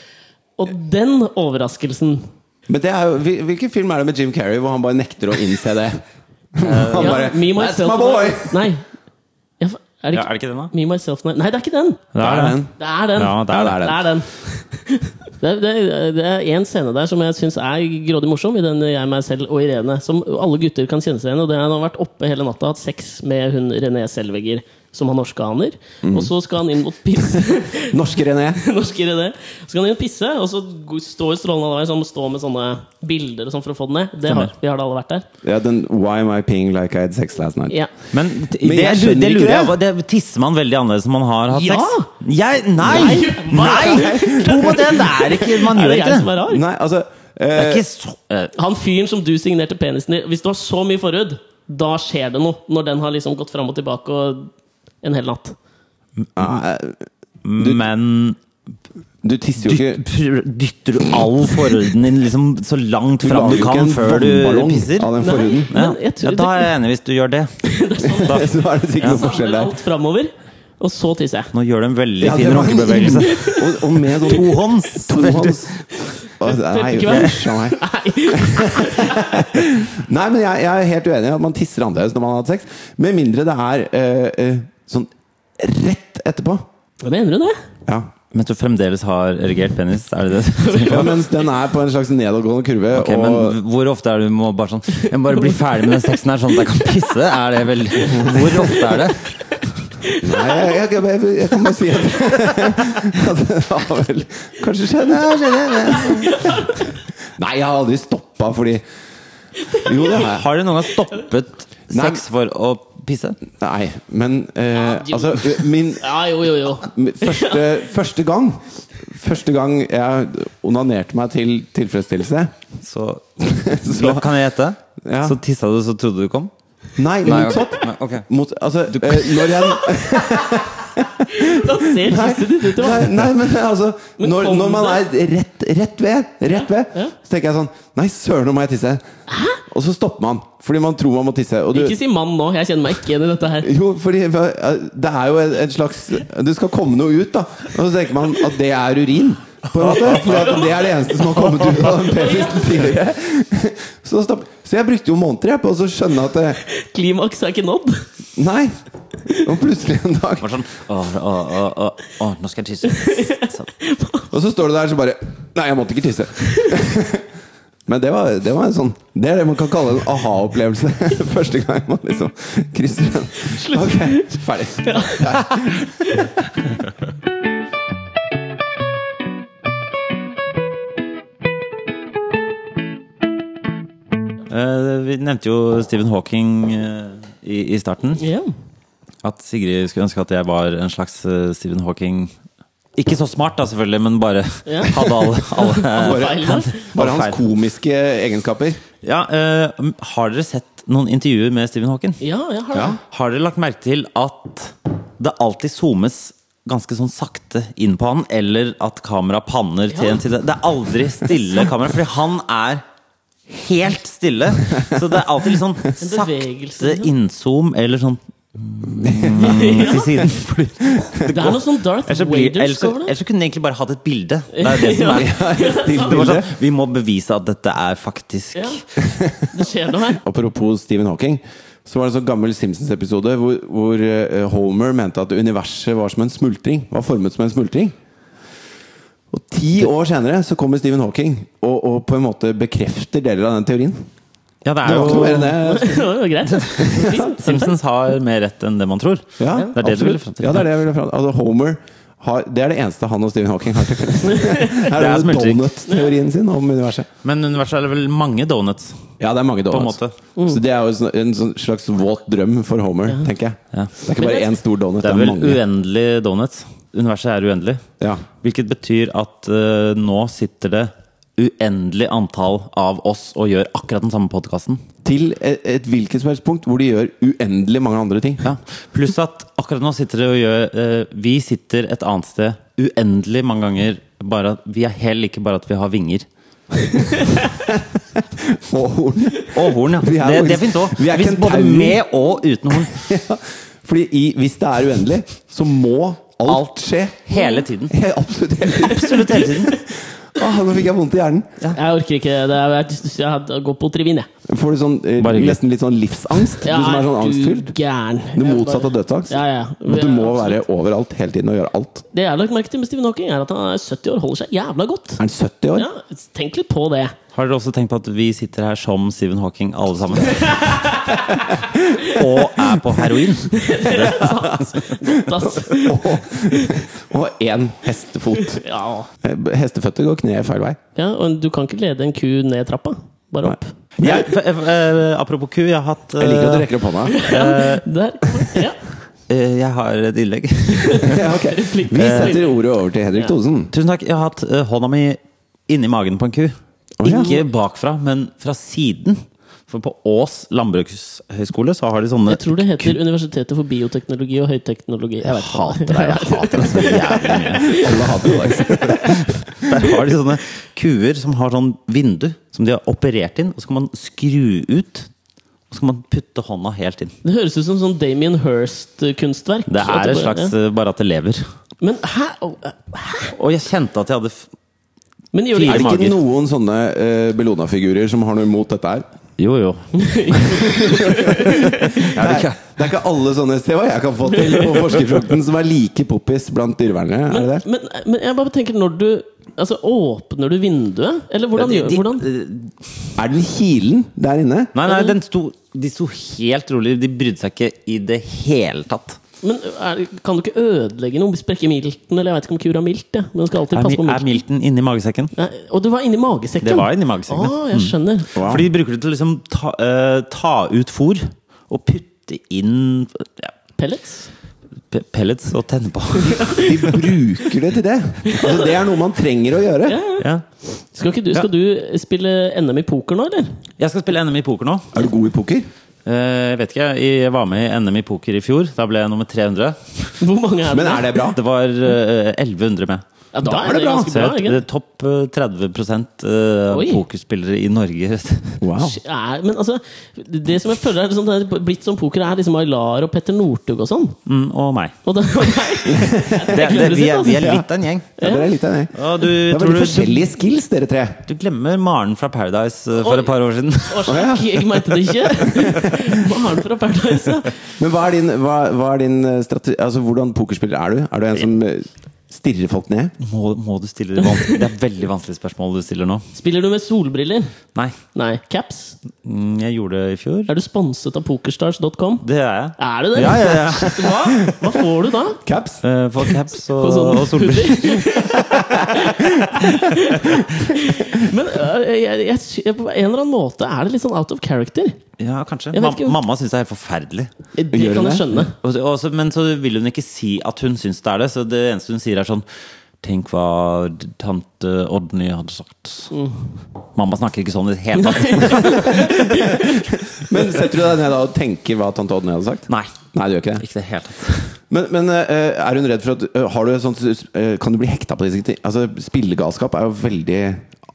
Speaker 3: <laughs> Og den overraskelsen
Speaker 2: Men det er jo, hvil- Hvilken film er det med Jim Carrey hvor han bare nekter å innse
Speaker 1: <laughs>
Speaker 2: det? Han
Speaker 3: Ja,
Speaker 2: bare
Speaker 3: Me,
Speaker 2: That's
Speaker 3: Myself
Speaker 2: my
Speaker 3: and
Speaker 2: boy!
Speaker 3: I- Nei. Ja, fa- er det
Speaker 1: Ja,
Speaker 3: ikke,
Speaker 1: er det ikke den, da?
Speaker 3: Me, Myself and I- Nei, det er ikke den!
Speaker 1: Det
Speaker 2: Der er den.
Speaker 3: Det er den!
Speaker 1: Ja, der
Speaker 2: er den.
Speaker 3: Det er den. <laughs> Det er, det, er, det er en scene der som jeg syns er grådig morsom, i den Jeg, meg selv og Irene. Som alle gutter kan kjenne seg igjen. Og det er Han har vært oppe hele natta hatt sex med hun René Selvegger, som han norske aner.
Speaker 2: Mm.
Speaker 3: Og så skal han inn mot pisse. <laughs>
Speaker 2: Norske René.
Speaker 3: norske René. Så skal han inn og pisse, og så g- står strålende Advai sånn, stå med sånne bilder og sånn for å få den ned. Det har, vi har da alle vært der.
Speaker 2: Ja, den Why am I peeing like I had sex last night?
Speaker 3: Ja.
Speaker 1: Men, t-
Speaker 2: Men
Speaker 1: det,
Speaker 2: jeg
Speaker 1: lu-
Speaker 2: skjønner
Speaker 1: det
Speaker 2: ikke
Speaker 1: lurer
Speaker 2: det.
Speaker 1: jeg på. Det tisser man veldig annerledes når man har hatt
Speaker 3: Ja!
Speaker 1: sex? Jeg, nei! Nei!
Speaker 3: Nei!
Speaker 1: To mot én, det er ikke Man
Speaker 3: Er
Speaker 1: gjør
Speaker 3: det
Speaker 1: ikke
Speaker 3: jeg som
Speaker 1: det.
Speaker 3: er rar?
Speaker 2: Nei, altså
Speaker 1: Det er
Speaker 2: eh,
Speaker 1: ikke så eh,
Speaker 3: Han fyren som du signerte penisen i Hvis du har så mye forhud, da skjer det noe. Når den har liksom gått fram og tilbake og en hel natt.
Speaker 2: ah,
Speaker 1: Men
Speaker 2: Du tisser jo
Speaker 1: dytt,
Speaker 2: ikke
Speaker 1: pr- dytter du all forhuden din liksom så langt
Speaker 2: Du
Speaker 1: fra
Speaker 2: lander
Speaker 1: du
Speaker 2: jo ikke
Speaker 1: kan
Speaker 2: en
Speaker 1: før du
Speaker 2: vannballong
Speaker 1: pisser?
Speaker 2: av den
Speaker 3: Nei.
Speaker 2: forhuden.
Speaker 1: Ja.
Speaker 3: Men jeg tror
Speaker 1: ja, da er jeg enig hvis du gjør det. Da,
Speaker 2: <laughs> Så er det sikkert noe forskjell der.
Speaker 3: Samler alt framover, og så tisser jeg.
Speaker 1: nå gjør du en veldig
Speaker 2: Ja, det
Speaker 1: fin
Speaker 2: var-
Speaker 1: runkebevegelse.
Speaker 2: Og, og med
Speaker 1: <laughs>
Speaker 2: sånn
Speaker 1: Tohånds.
Speaker 2: <laughs> tohånds Å, Nei,
Speaker 3: Ikke hva?
Speaker 2: uff a meg.
Speaker 3: Nei.
Speaker 2: sånn Nei, men jeg, jeg er helt uenig i at man tisser annerledes når man har hatt sex. Med mindre det er eh, eh, sånn rett etterpå.
Speaker 3: Hva mener du det?
Speaker 2: Ja.
Speaker 1: Mens du fremdeles har erigert penis, er det det?
Speaker 2: <laughs> ja, Mens den er på en slags nedadgående kurve.
Speaker 1: Ok,
Speaker 2: og
Speaker 1: men hvor ofte er det du må bare sånn Jeg må bare bli ferdig med den sexen her, sånn at jeg kan pisse? Er det vel Hvor ofte er det?
Speaker 2: Nei, jeg, jeg, jeg, jeg, jeg kan bare si at, <laughs> at det har vel Kanskje skjedd. Ja, skjedde. Nei, jeg har aldri stoppa fordi Jo, det har jeg.
Speaker 1: Har du noen gang stoppet
Speaker 2: Nei.
Speaker 1: sex for å pisse?
Speaker 2: Nei, men eh,
Speaker 3: Ja,
Speaker 2: altså min
Speaker 3: Ja, jo, jo, jo.
Speaker 2: første, første gang Første gang jeg onanerte meg til tilfredsstillelse <laughs>
Speaker 1: Så
Speaker 2: Så-
Speaker 1: kan jeg gjette?
Speaker 2: Ja.
Speaker 1: Så tissa du, så trodde du kom?
Speaker 2: Nei,
Speaker 1: Nei,
Speaker 2: motsatt.
Speaker 1: ok. Nei, ok.
Speaker 2: Mot, altså, eh, når jeg
Speaker 3: Da ser kysset ditt ut,
Speaker 2: Nei,
Speaker 3: ja.
Speaker 2: nei, men altså
Speaker 3: Men
Speaker 2: når,
Speaker 3: kom
Speaker 2: når man
Speaker 3: det.
Speaker 2: er rett, rett ved, rett ved
Speaker 3: ja.
Speaker 2: så tenker jeg sånn Nei, søren, nå må jeg tisse. Og så stopper man, fordi man tror man må tisse. Og du,
Speaker 3: Ikke si mann nå, jeg kjenner meg ikke igjen i dette her.
Speaker 2: jo, fordi det er jo en, en slags Det skal komme noe ut, da. Og så tenker man at det er urin. På en måte, fordi at det er det eneste som har kommet ut av den p-pisten tidligere. Så, stopp. så jeg brukte jo måneder jeg, på å så skjønne at eh,
Speaker 3: Klimaks er ikke nådd.
Speaker 2: Nei! Og plutselig en dag
Speaker 1: Bare sånn Å, å, å, å, å nå skal jeg tisse. Sånn.
Speaker 2: Og så står du der så bare Nei, jeg måtte ikke tisse. <laughs> Men det var, det var en sånn Det er det man kan kalle en aha-opplevelse. <laughs> Første gang man liksom krysser den. Ok, ferdig.
Speaker 1: Eh, vi nevnte jo Stephen Hawking eh, i, i starten.
Speaker 3: Ja.
Speaker 1: At Sigrid skulle ønske at jeg var en slags eh, Stephen Hawking Ikke så smart, da, selvfølgelig, men bare
Speaker 3: Ja.
Speaker 1: <laughs> hadde alle, alle
Speaker 2: Bare,
Speaker 3: Feil, da.
Speaker 2: bare
Speaker 1: Feil.
Speaker 2: hans komiske
Speaker 1: <laughs>
Speaker 2: egenskaper.
Speaker 1: Ja, eh, Har dere sett noen intervjuer med Stephen Hawking?
Speaker 3: Ja, jeg har det.
Speaker 2: Ja.
Speaker 1: Har dere lagt merke til at det alltid zoomes ganske sånn sakte inn på han, eller at kamera panner til
Speaker 3: Ja.
Speaker 1: en til det? Det er aldri stille
Speaker 3: <laughs>
Speaker 1: kamera, fordi han er helt stille. Så det er alltid litt sånn
Speaker 3: bevegelse,
Speaker 1: sakte
Speaker 3: liksom.
Speaker 1: innzoom, eller
Speaker 3: <laughs>
Speaker 1: sånn mm, til siden. Fordi
Speaker 3: Det er noe sånn Darth
Speaker 1: Ellers så, blir, ellers,
Speaker 3: Vadersk
Speaker 1: så,
Speaker 3: over det.
Speaker 1: ellers så kunne de egentlig bare hatt et bilde. Det er det
Speaker 3: <laughs>
Speaker 1: som er
Speaker 2: Stilt
Speaker 1: det var
Speaker 2: bilde.
Speaker 1: sånn, Vi må bevise at dette er faktisk
Speaker 3: Ja. Det skjer noe her. <laughs>
Speaker 2: Apropos Stephen Hawking, så var det en sånn gammel Simpsons-episode hvor, hvor eh, Homer mente at universet var som en smultring. Var formet som en smultring. Og ti år senere så kommer Stephen Hawking og, og på en måte bekrefter deler av den teorien.
Speaker 1: Ja, det
Speaker 2: Det
Speaker 1: er
Speaker 2: var ikke noe
Speaker 1: jo
Speaker 2: mer enn det.
Speaker 3: Det var jo
Speaker 2: <laughs>
Speaker 3: greit.
Speaker 1: Simpsons har mer rett enn det man tror.
Speaker 2: Ja,
Speaker 1: det er det du
Speaker 2: absolutt.
Speaker 1: ville fram til.
Speaker 2: Ja, det er det jeg ville fram til. Altså, Homer har, det er det eneste han og Stephen Hawking har til
Speaker 1: <laughs>
Speaker 2: felles. Her
Speaker 1: er
Speaker 2: er det
Speaker 1: smultring.
Speaker 2: donut-teorien sin om universet.
Speaker 1: Men universet er det vel mange donuts.
Speaker 2: Ja, det er mange donuts.
Speaker 1: måte.
Speaker 2: Så det er jo en sånn- en sånn slags våt drøm for Homer, tenker jeg.
Speaker 1: Ja.
Speaker 2: Det er ikke
Speaker 3: Men
Speaker 2: bare
Speaker 3: det-
Speaker 2: én stor donut,
Speaker 1: Det er vel
Speaker 2: mange.
Speaker 1: uendelig donuts. Universet er uendelig.
Speaker 2: Ja.
Speaker 1: Hvilket betyr at eh, nå sitter det uendelig antall av oss og gjør akkurat den samme podkasten.
Speaker 2: Til et, et hvilket som helst punkt hvor de gjør uendelig mange andre
Speaker 1: <laughs>
Speaker 2: ting.
Speaker 1: Ja. Pluss at akkurat nå sitter det og gjør eh, Vi sitter et annet sted uendelig mange ganger. Bare at vi er helt like, bare at vi har vinger.
Speaker 2: Og horn.
Speaker 1: Og horn, ja.
Speaker 2: Vi er
Speaker 1: det,
Speaker 2: horn.
Speaker 1: det finnes òg.
Speaker 2: Vi er
Speaker 1: Hvis Både
Speaker 2: kentaurer.
Speaker 1: med og uten horn.
Speaker 2: <laughs> Ja. Fordi i, hvis det er uendelig, så må alt,
Speaker 1: Alt.
Speaker 2: skje.
Speaker 1: Hele tiden.
Speaker 2: Ja, Absolutt hele
Speaker 1: <laughs>
Speaker 2: tiden.
Speaker 1: Absolutt hele tiden.
Speaker 2: Åh, nå fikk jeg vondt i hjernen.
Speaker 3: Jeg orker ikke det. er- Jeg, jeg går på Trivin, jeg.
Speaker 2: Får du sånn, eh,
Speaker 1: Bare hyggelig.
Speaker 2: nesten litt sånn livsangst?
Speaker 3: Ja,
Speaker 2: du som er sånn
Speaker 3: du
Speaker 2: angstfylt?
Speaker 3: Gæren.
Speaker 2: Det
Speaker 3: Jeg
Speaker 2: motsatte av
Speaker 3: bare-
Speaker 2: dødsangst?
Speaker 3: Ja, ja.
Speaker 2: At du må være overalt hele tiden og gjøre alt?
Speaker 3: Det jeg har lagt merke til med Stephen Hawking, er at han er 70 år holder seg jævla godt.
Speaker 2: Er han 70 år?
Speaker 3: Ja, Tenk litt på det. <laughs>
Speaker 1: Har dere også tenkt på at vi sitter her som Stephen Hawking, alle sammen? <laughs> og er på heroin?
Speaker 3: Dass.
Speaker 2: <laughs> Og én hestefot.
Speaker 3: Ja.
Speaker 2: Eh, Hesteføtter går kneet feil vei.
Speaker 3: ja, og du kan ikke lede en ku ned trappa. Bare opp.
Speaker 1: Jeg, f- f- eh, apropos ku, jeg har hatt
Speaker 2: Jeg liker at du
Speaker 1: eh,
Speaker 2: rekker opp hånda. <laughs>
Speaker 3: Ja, der. Ja.
Speaker 1: eh, Jeg har et innlegg. <laughs>
Speaker 2: Ja, ok. Vi
Speaker 3: Eh.
Speaker 2: setter ordet over til Henrik Thosen.
Speaker 1: Tusen takk. Jeg har hatt eh, hånda mi inni magen på en ku.
Speaker 2: Å, ja.
Speaker 1: Ikke bakfra, men fra siden. For på Ås landbrukshøgskole så har de sånne
Speaker 3: Jeg tror det heter Universitetet for bioteknologi og høyteknologi. Jeg
Speaker 1: Jeg
Speaker 3: vet ikke.
Speaker 1: hater deg, jeg hater deg så jævlig mye.
Speaker 2: Alle hater det.
Speaker 1: <laughs> Der har de sånne kuer som har sånn vindu som de har operert inn, og så kan man skru ut. Og så kan man putte hånda helt inn.
Speaker 3: <laughs> Det høres ut som sånn Damien Hirst-kunstverk.
Speaker 1: Det
Speaker 3: At
Speaker 1: er et
Speaker 3: bare-
Speaker 1: slags
Speaker 3: ja.
Speaker 1: eh, bare at det lever.
Speaker 3: Men hæ? Au, eh,
Speaker 1: Og jeg kjente at jeg hadde f-
Speaker 3: Men gjør det
Speaker 1: Fire
Speaker 2: Er det
Speaker 1: mager.
Speaker 2: ikke noen sånne eh, Bellona-figurer som har noe imot dette her?
Speaker 1: Jo, jo.
Speaker 2: Det er, det er ikke alle sånne Se hva jeg kan få til på forskerfronten som er like poppis blant dyrevernere. Er det det?
Speaker 3: Men, men jeg bare tenker når du Altså, åpner du vinduet? Eller hvordan
Speaker 1: De-
Speaker 3: gjør
Speaker 1: de-
Speaker 3: hvordan?
Speaker 2: Er den hilen der inne?
Speaker 1: Nei, nei, den sto, de sto helt rolig. De brydde seg ikke i det hele tatt.
Speaker 3: Men er, kan du ikke ødelegge noe? Sprekke milten? Eller jeg vet ikke om kura har milt, ja. men du skal alltid
Speaker 1: Er,
Speaker 3: passe på
Speaker 1: mi- er
Speaker 3: milten.
Speaker 1: milten inni magesekken?
Speaker 3: Nei, og du var inni magesekken?
Speaker 1: Det var inni magesekken, ja.
Speaker 3: Å, jeg skjønner.
Speaker 2: Wow.
Speaker 1: For de bruker det til å liksom ta, eh, ta ut fôr og putte inn ja,
Speaker 3: Pellets?
Speaker 1: pe- pellets og tenne
Speaker 3: <laughs>
Speaker 1: på.
Speaker 2: De bruker det til det! Altså, det er noe man trenger å gjøre.
Speaker 1: Ja.
Speaker 3: Skal, ikke du, skal du spille NM i poker nå, eller?
Speaker 1: Jeg skal spille NM i poker nå.
Speaker 2: Er du god i poker?
Speaker 1: Eh, Jeg vet ikke, jeg var med i NM i poker i fjor. Da ble jeg nummer 300.
Speaker 3: Hvor mange er det?
Speaker 2: Men er det bra?
Speaker 1: Det var eh, 1100 med.
Speaker 3: Ja, da,
Speaker 2: Da
Speaker 3: er det, ganske
Speaker 1: Så
Speaker 3: bra.
Speaker 1: jeg er
Speaker 3: egentlig.
Speaker 1: topp eh, 30 eh, av
Speaker 3: Oi.
Speaker 1: pokerspillere i Norge. <laughs>
Speaker 2: Wow.
Speaker 3: Sh- er- Men altså, det som jeg føler er liksom, det er blitt som poker, er liksom Aylar og Petter Northug og sånn.
Speaker 1: Mm, og meg.
Speaker 3: Og da,
Speaker 1: <laughs>
Speaker 3: <laughs>
Speaker 1: Det, det, vi, er, vi er litt av en gjeng.
Speaker 2: Ja, dere er litt av det.
Speaker 1: Ja, du,
Speaker 2: Det er
Speaker 1: tror
Speaker 2: veldig
Speaker 1: du,
Speaker 2: forskjellige skills, dere tre.
Speaker 1: du glemmer Maren fra Paradise eh,
Speaker 3: Oi.
Speaker 1: for et par år siden. <laughs>
Speaker 3: Årsak, jeg mente det ikke! Maren fra Paradise, ja.
Speaker 2: Men hva er din, hva, hva er din eh, strategi Altså, hvordan pokerspiller er du? Er du en som eh, stirrer folk ned?
Speaker 1: Må, må du stille det vanskelig? Det er veldig vanskelig spørsmål du stiller nå.
Speaker 3: Spiller du med solbriller?
Speaker 1: Nei.
Speaker 3: Nei. Caps?
Speaker 1: Mm, Jeg gjorde det i fjor.
Speaker 3: Er du sponset av pokerstars.com?
Speaker 1: Det er jeg.
Speaker 3: Er du det?
Speaker 1: Ja, ja, ja.
Speaker 3: Hva? Hva får du da?
Speaker 2: Caps?
Speaker 1: Eh, For caps og,
Speaker 3: Og sånn-
Speaker 1: og
Speaker 3: <laughs>
Speaker 1: solbriller.
Speaker 3: Men øh, jeg, jeg, sy- på en eller annen måte er det litt sånn out of character.
Speaker 1: Ja, kanskje.
Speaker 3: Jeg vet ikke.
Speaker 1: Mam- mamma syns det er helt forferdelig.
Speaker 3: Det
Speaker 2: Gjør
Speaker 3: kan
Speaker 2: det?
Speaker 3: jeg skjønne.
Speaker 1: Og så- og så- men så vil hun ikke si at hun syns det er det, så det eneste hun sier, er sånn Tenk hva d- tante Odny hadde sagt.
Speaker 3: Mm.
Speaker 1: Mamma snakker ikke sånn i det hele <laughs> tatt.
Speaker 2: Men setter du deg ned da og tenker hva tante Odny hadde sagt?
Speaker 1: Nei.
Speaker 2: Nei, du gjør ikke det.
Speaker 1: Ikke i det hele tatt.
Speaker 2: Men, men eh, er hun redd for at eh, har du et sånt, eh, Kan du bli hekta på disse ting? Altså, spillegalskap er jo veldig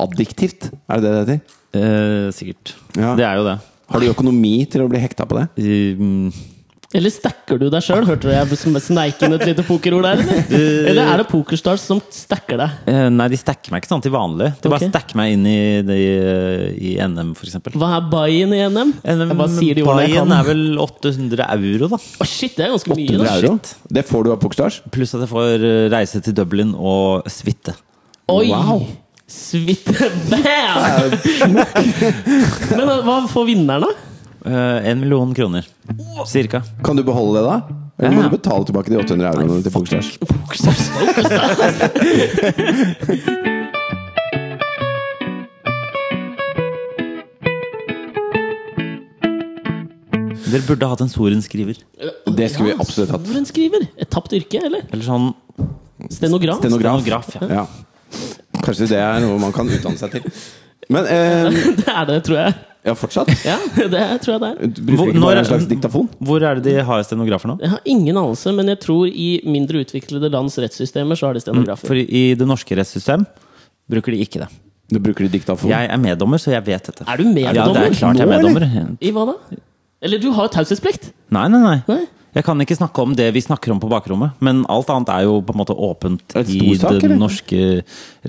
Speaker 2: addiktivt. Er det det det heter?
Speaker 1: Eh, sikkert.
Speaker 2: Ja.
Speaker 1: Det er jo det.
Speaker 2: Har du økonomi til å bli hekta på det?
Speaker 1: Um,
Speaker 3: Eller stacker du deg sjøl? Hørte du jeg sm- sneik inn et lite pokerord der? Eller, eller er det Pokerstars som stacker deg?
Speaker 1: eh, nei, de stacker meg ikke sånn til vanlig. De bare
Speaker 3: Ok.
Speaker 1: stacker meg inn i, det- i NM, for eksempel.
Speaker 3: Hva er buy-in i NM? Jeg bare sier de ordene jeg
Speaker 1: Buy-in
Speaker 3: kan.
Speaker 1: er vel 800 euro, da.
Speaker 3: Å, shit, det er ganske mye.
Speaker 2: 100
Speaker 3: Da.
Speaker 2: euro? Det får du av Pokerstars?
Speaker 1: Pluss at jeg får eh, reise til Dublin og suite.
Speaker 3: Oi!
Speaker 2: Wow.
Speaker 3: Suite bam!
Speaker 2: Eh, <laughs>
Speaker 3: Men øh, hva får vinneren, da?
Speaker 1: Eh, En million kroner. Cirka.
Speaker 2: Kan du beholde det, da? Eller må
Speaker 1: Ja.
Speaker 2: du betale tilbake de 800 euroene til Pokerstars?
Speaker 1: Dere burde hatt en sorenskriver.
Speaker 2: Det skulle vi absolutt hatt.
Speaker 3: Hvor en skriver? Et tapt yrke, eller?
Speaker 1: Eller sånn
Speaker 3: Stenograf?
Speaker 2: Stenograf.
Speaker 1: Stenograf, ja.
Speaker 2: ja. Kanskje det er noe man kan utdanne seg til. Men eh,
Speaker 3: <laughs> Det er det, tror jeg.
Speaker 2: ja, fortsatt.
Speaker 3: Ja, <laughs> det tror jeg det er.
Speaker 2: Bruker du
Speaker 1: Hvor-
Speaker 2: ikke
Speaker 1: når
Speaker 2: bare
Speaker 1: er-
Speaker 2: en slags diktafon?
Speaker 1: Hvor er det de har stenografer nå?
Speaker 3: Jeg har ingen anelse, men jeg tror i mindre utviklede lands rettssystemer så har de stenografer.
Speaker 2: Mm,
Speaker 1: For i det norske rettssystem bruker de ikke det.
Speaker 2: Du bruker de diktafon?
Speaker 1: Jeg er meddommer, så jeg vet dette.
Speaker 3: Er du
Speaker 1: Ja, det
Speaker 3: meddommer?
Speaker 1: er klart jeg er
Speaker 2: Nå, eller?
Speaker 1: meddommer.
Speaker 3: I hva da? Eller du har jo taushetsplikt!
Speaker 1: Nei, nei, nei.
Speaker 3: Nei?
Speaker 1: Jeg kan ikke snakke om det vi snakker om på bakrommet, men alt annet er jo på en måte åpent
Speaker 2: Er det
Speaker 1: i
Speaker 2: stor sak,
Speaker 1: det
Speaker 2: eller?
Speaker 1: norske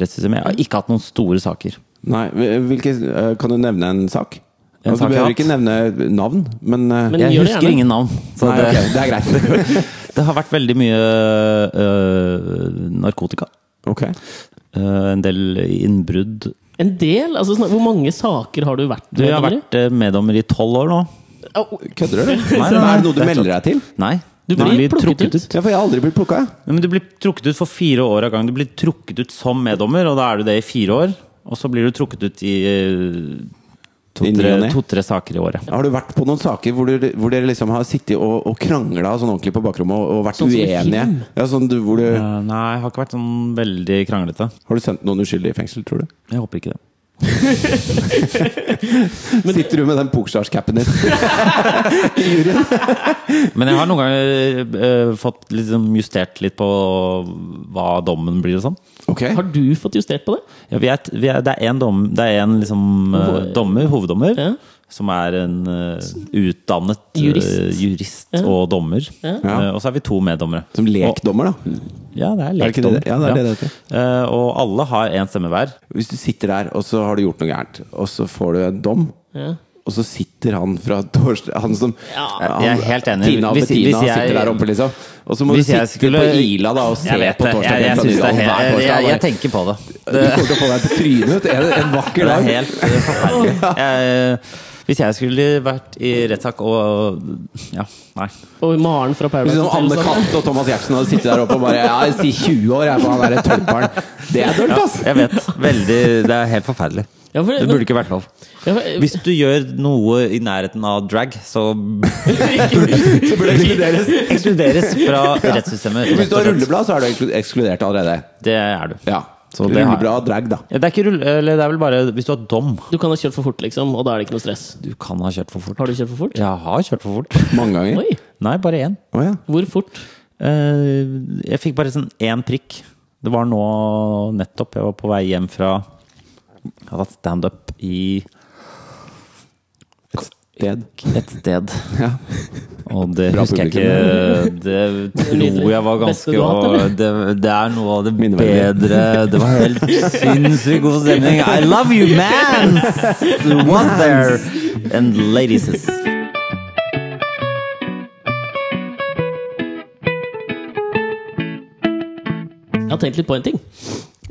Speaker 1: rettssystemet. Jeg har ikke hatt noen store saker.
Speaker 2: Nei, hvilke, eh, kan du nevne en sak?
Speaker 1: En sak
Speaker 2: altså, du
Speaker 1: jeg har
Speaker 2: behøver ikke nevne navn, men, eh,
Speaker 3: Men-
Speaker 1: Jeg
Speaker 3: gjør det
Speaker 1: husker
Speaker 3: gjerne.
Speaker 1: ingen navn. Så
Speaker 2: nei,
Speaker 1: det,
Speaker 2: ok, det er
Speaker 1: <laughs>
Speaker 2: greit.
Speaker 1: det har vært veldig mye øh, narkotika.
Speaker 2: Ok.
Speaker 1: Øh, en del innbrudd.
Speaker 3: En del? Altså, snak- hvor mange saker har du vært
Speaker 1: Du jeg har
Speaker 3: meddommer i?
Speaker 1: vært øh, meddommer i tolv år nå.
Speaker 3: Au.
Speaker 2: Kødder
Speaker 1: <laughs>
Speaker 2: du?
Speaker 1: Nei, nei,
Speaker 2: Men
Speaker 1: nei.
Speaker 2: Er det noe du
Speaker 1: Det er
Speaker 2: melder deg til?
Speaker 1: Nei.
Speaker 3: Du blir plukket ut.
Speaker 2: Ja, for jeg har aldri blitt plukka. jeg.
Speaker 1: Ja, Men du blir trukket ut for fire år av gang. Du blir trukket ut som meddommer, og da er du det i fire år. Og så blir du trukket ut i eh,
Speaker 2: I ny og
Speaker 1: to-tre
Speaker 2: ne.
Speaker 1: to-tre saker i året.
Speaker 2: Har du vært på noen saker hvor, du, hvor dere liksom har sittet og, og krangla sånn ordentlig på bakrommet og, og vært
Speaker 3: Sånn som i
Speaker 2: uenige?
Speaker 3: film?
Speaker 2: Ja, sånn du, hvor du,
Speaker 1: Eh, Nei, jeg har ikke vært sånn veldig kranglete.
Speaker 2: har du sendt noen uskyldige i fengsel, tror du?
Speaker 1: Jeg håper ikke det.
Speaker 2: Sitter du med den Pokerstars-capen
Speaker 1: <laughs>
Speaker 2: din i juryen?
Speaker 1: Men jeg har noen ganger eh, fått liksom justert litt på hva dommen blir og sånn.
Speaker 2: Ok.
Speaker 3: Har du fått justert på det?
Speaker 1: Ja, vi er, et- vi er, det er én dom, det er en, liksom, eh,
Speaker 3: Hoved-
Speaker 1: dommer, hoveddommer,
Speaker 3: Ja.
Speaker 1: som er en eh, utdannet eh,
Speaker 3: Jurist.
Speaker 1: jurist og dommer.
Speaker 2: Ja.
Speaker 1: Eh, og så er vi to meddommere.
Speaker 2: Som
Speaker 1: Og-
Speaker 2: lekdommer, da.
Speaker 1: Ja, det er
Speaker 2: Er det ikke
Speaker 1: lekdommer.
Speaker 2: det det- ja, det er det det
Speaker 1: Eh, og alle har én stemme hver.
Speaker 2: Hvis du sitter der, og så har du gjort noe gærent, og så får du en dom,
Speaker 3: Ja.
Speaker 2: og så sitter han fra Torstein Han som eh,
Speaker 3: Ja,
Speaker 1: jeg er helt enig.
Speaker 2: Tina og
Speaker 1: Hvis-
Speaker 2: Bettina
Speaker 1: hvis jeg-
Speaker 2: sitter der oppe, liksom. Og så må du
Speaker 1: Hvis jeg
Speaker 2: sitte
Speaker 1: skulle-
Speaker 2: på Ila da og se på Torstein
Speaker 1: Jeg, jeg,
Speaker 2: fra
Speaker 1: synes det er
Speaker 2: Nydalen hver
Speaker 1: helt- jeg,
Speaker 2: torsdag.
Speaker 1: jeg, jeg
Speaker 2: bare,
Speaker 1: tenker på det.
Speaker 2: Du kommer til å få deg på trynet ut en, en
Speaker 1: Det
Speaker 2: vakker
Speaker 1: er
Speaker 2: dag.
Speaker 1: helt eh, forferdelig.
Speaker 2: <laughs>
Speaker 1: Jeg, hvis jeg skulle vært i rettssak og Ja, nei.
Speaker 3: Og Maren fra
Speaker 2: Hvis
Speaker 3: Paradise
Speaker 2: liksom Anne
Speaker 3: og sånn.
Speaker 2: Katt og Thomas Giertsen hadde sittet der oppe og bare Ja, jeg sier 20 år, jeg, på han derre tølperen. Det er dølt, ass!
Speaker 1: Jeg vet. Veldig Det er helt forferdelig.
Speaker 3: Ja, for,
Speaker 1: Det burde
Speaker 3: men,
Speaker 1: ikke vært lov.
Speaker 3: ja, for,
Speaker 1: Hvis du gjør noe i nærheten av drag, så
Speaker 2: Så burde det ekskluderes. <laughs>
Speaker 1: ekskluderes fra rettssystemet.
Speaker 2: Hvis
Speaker 1: rett
Speaker 2: du
Speaker 1: og
Speaker 2: har
Speaker 1: slett.
Speaker 2: rulleblad, så er du ekskludert allerede.
Speaker 1: Det er du.
Speaker 2: Ja.
Speaker 1: Så det, har,
Speaker 2: Rullebra og drag, da.
Speaker 1: Ja, det, er ikke rull, eller det er vel bare hvis du har dom.
Speaker 3: Du kan ha kjørt for fort, liksom, og da er det ikke noe stress.
Speaker 1: Du kan ha kjørt for fort.
Speaker 3: Har du kjørt for fort?
Speaker 1: Jeg har kjørt for fort.
Speaker 2: Mange ganger.
Speaker 3: Oi!
Speaker 1: Nei, bare én.
Speaker 2: Å ja.
Speaker 3: Hvor fort?
Speaker 1: Eh, jeg fikk bare sånn én prikk. Det var nå nettopp. Jeg var på vei hjem fra Jeg hadde hatt standup i
Speaker 2: Et sted.
Speaker 1: et sted.
Speaker 2: Ja.
Speaker 1: Og det
Speaker 2: Bra
Speaker 1: husker jeg ikke Det tror jeg var ganske
Speaker 3: Beste du har hatt,
Speaker 1: og
Speaker 3: eller?
Speaker 1: det, det er noe av det
Speaker 2: Minneverdig.
Speaker 1: bedre Det var helt sinnssykt god stemning. I love you, man! Was there and ladies.
Speaker 3: Jeg har tenkt litt på en ting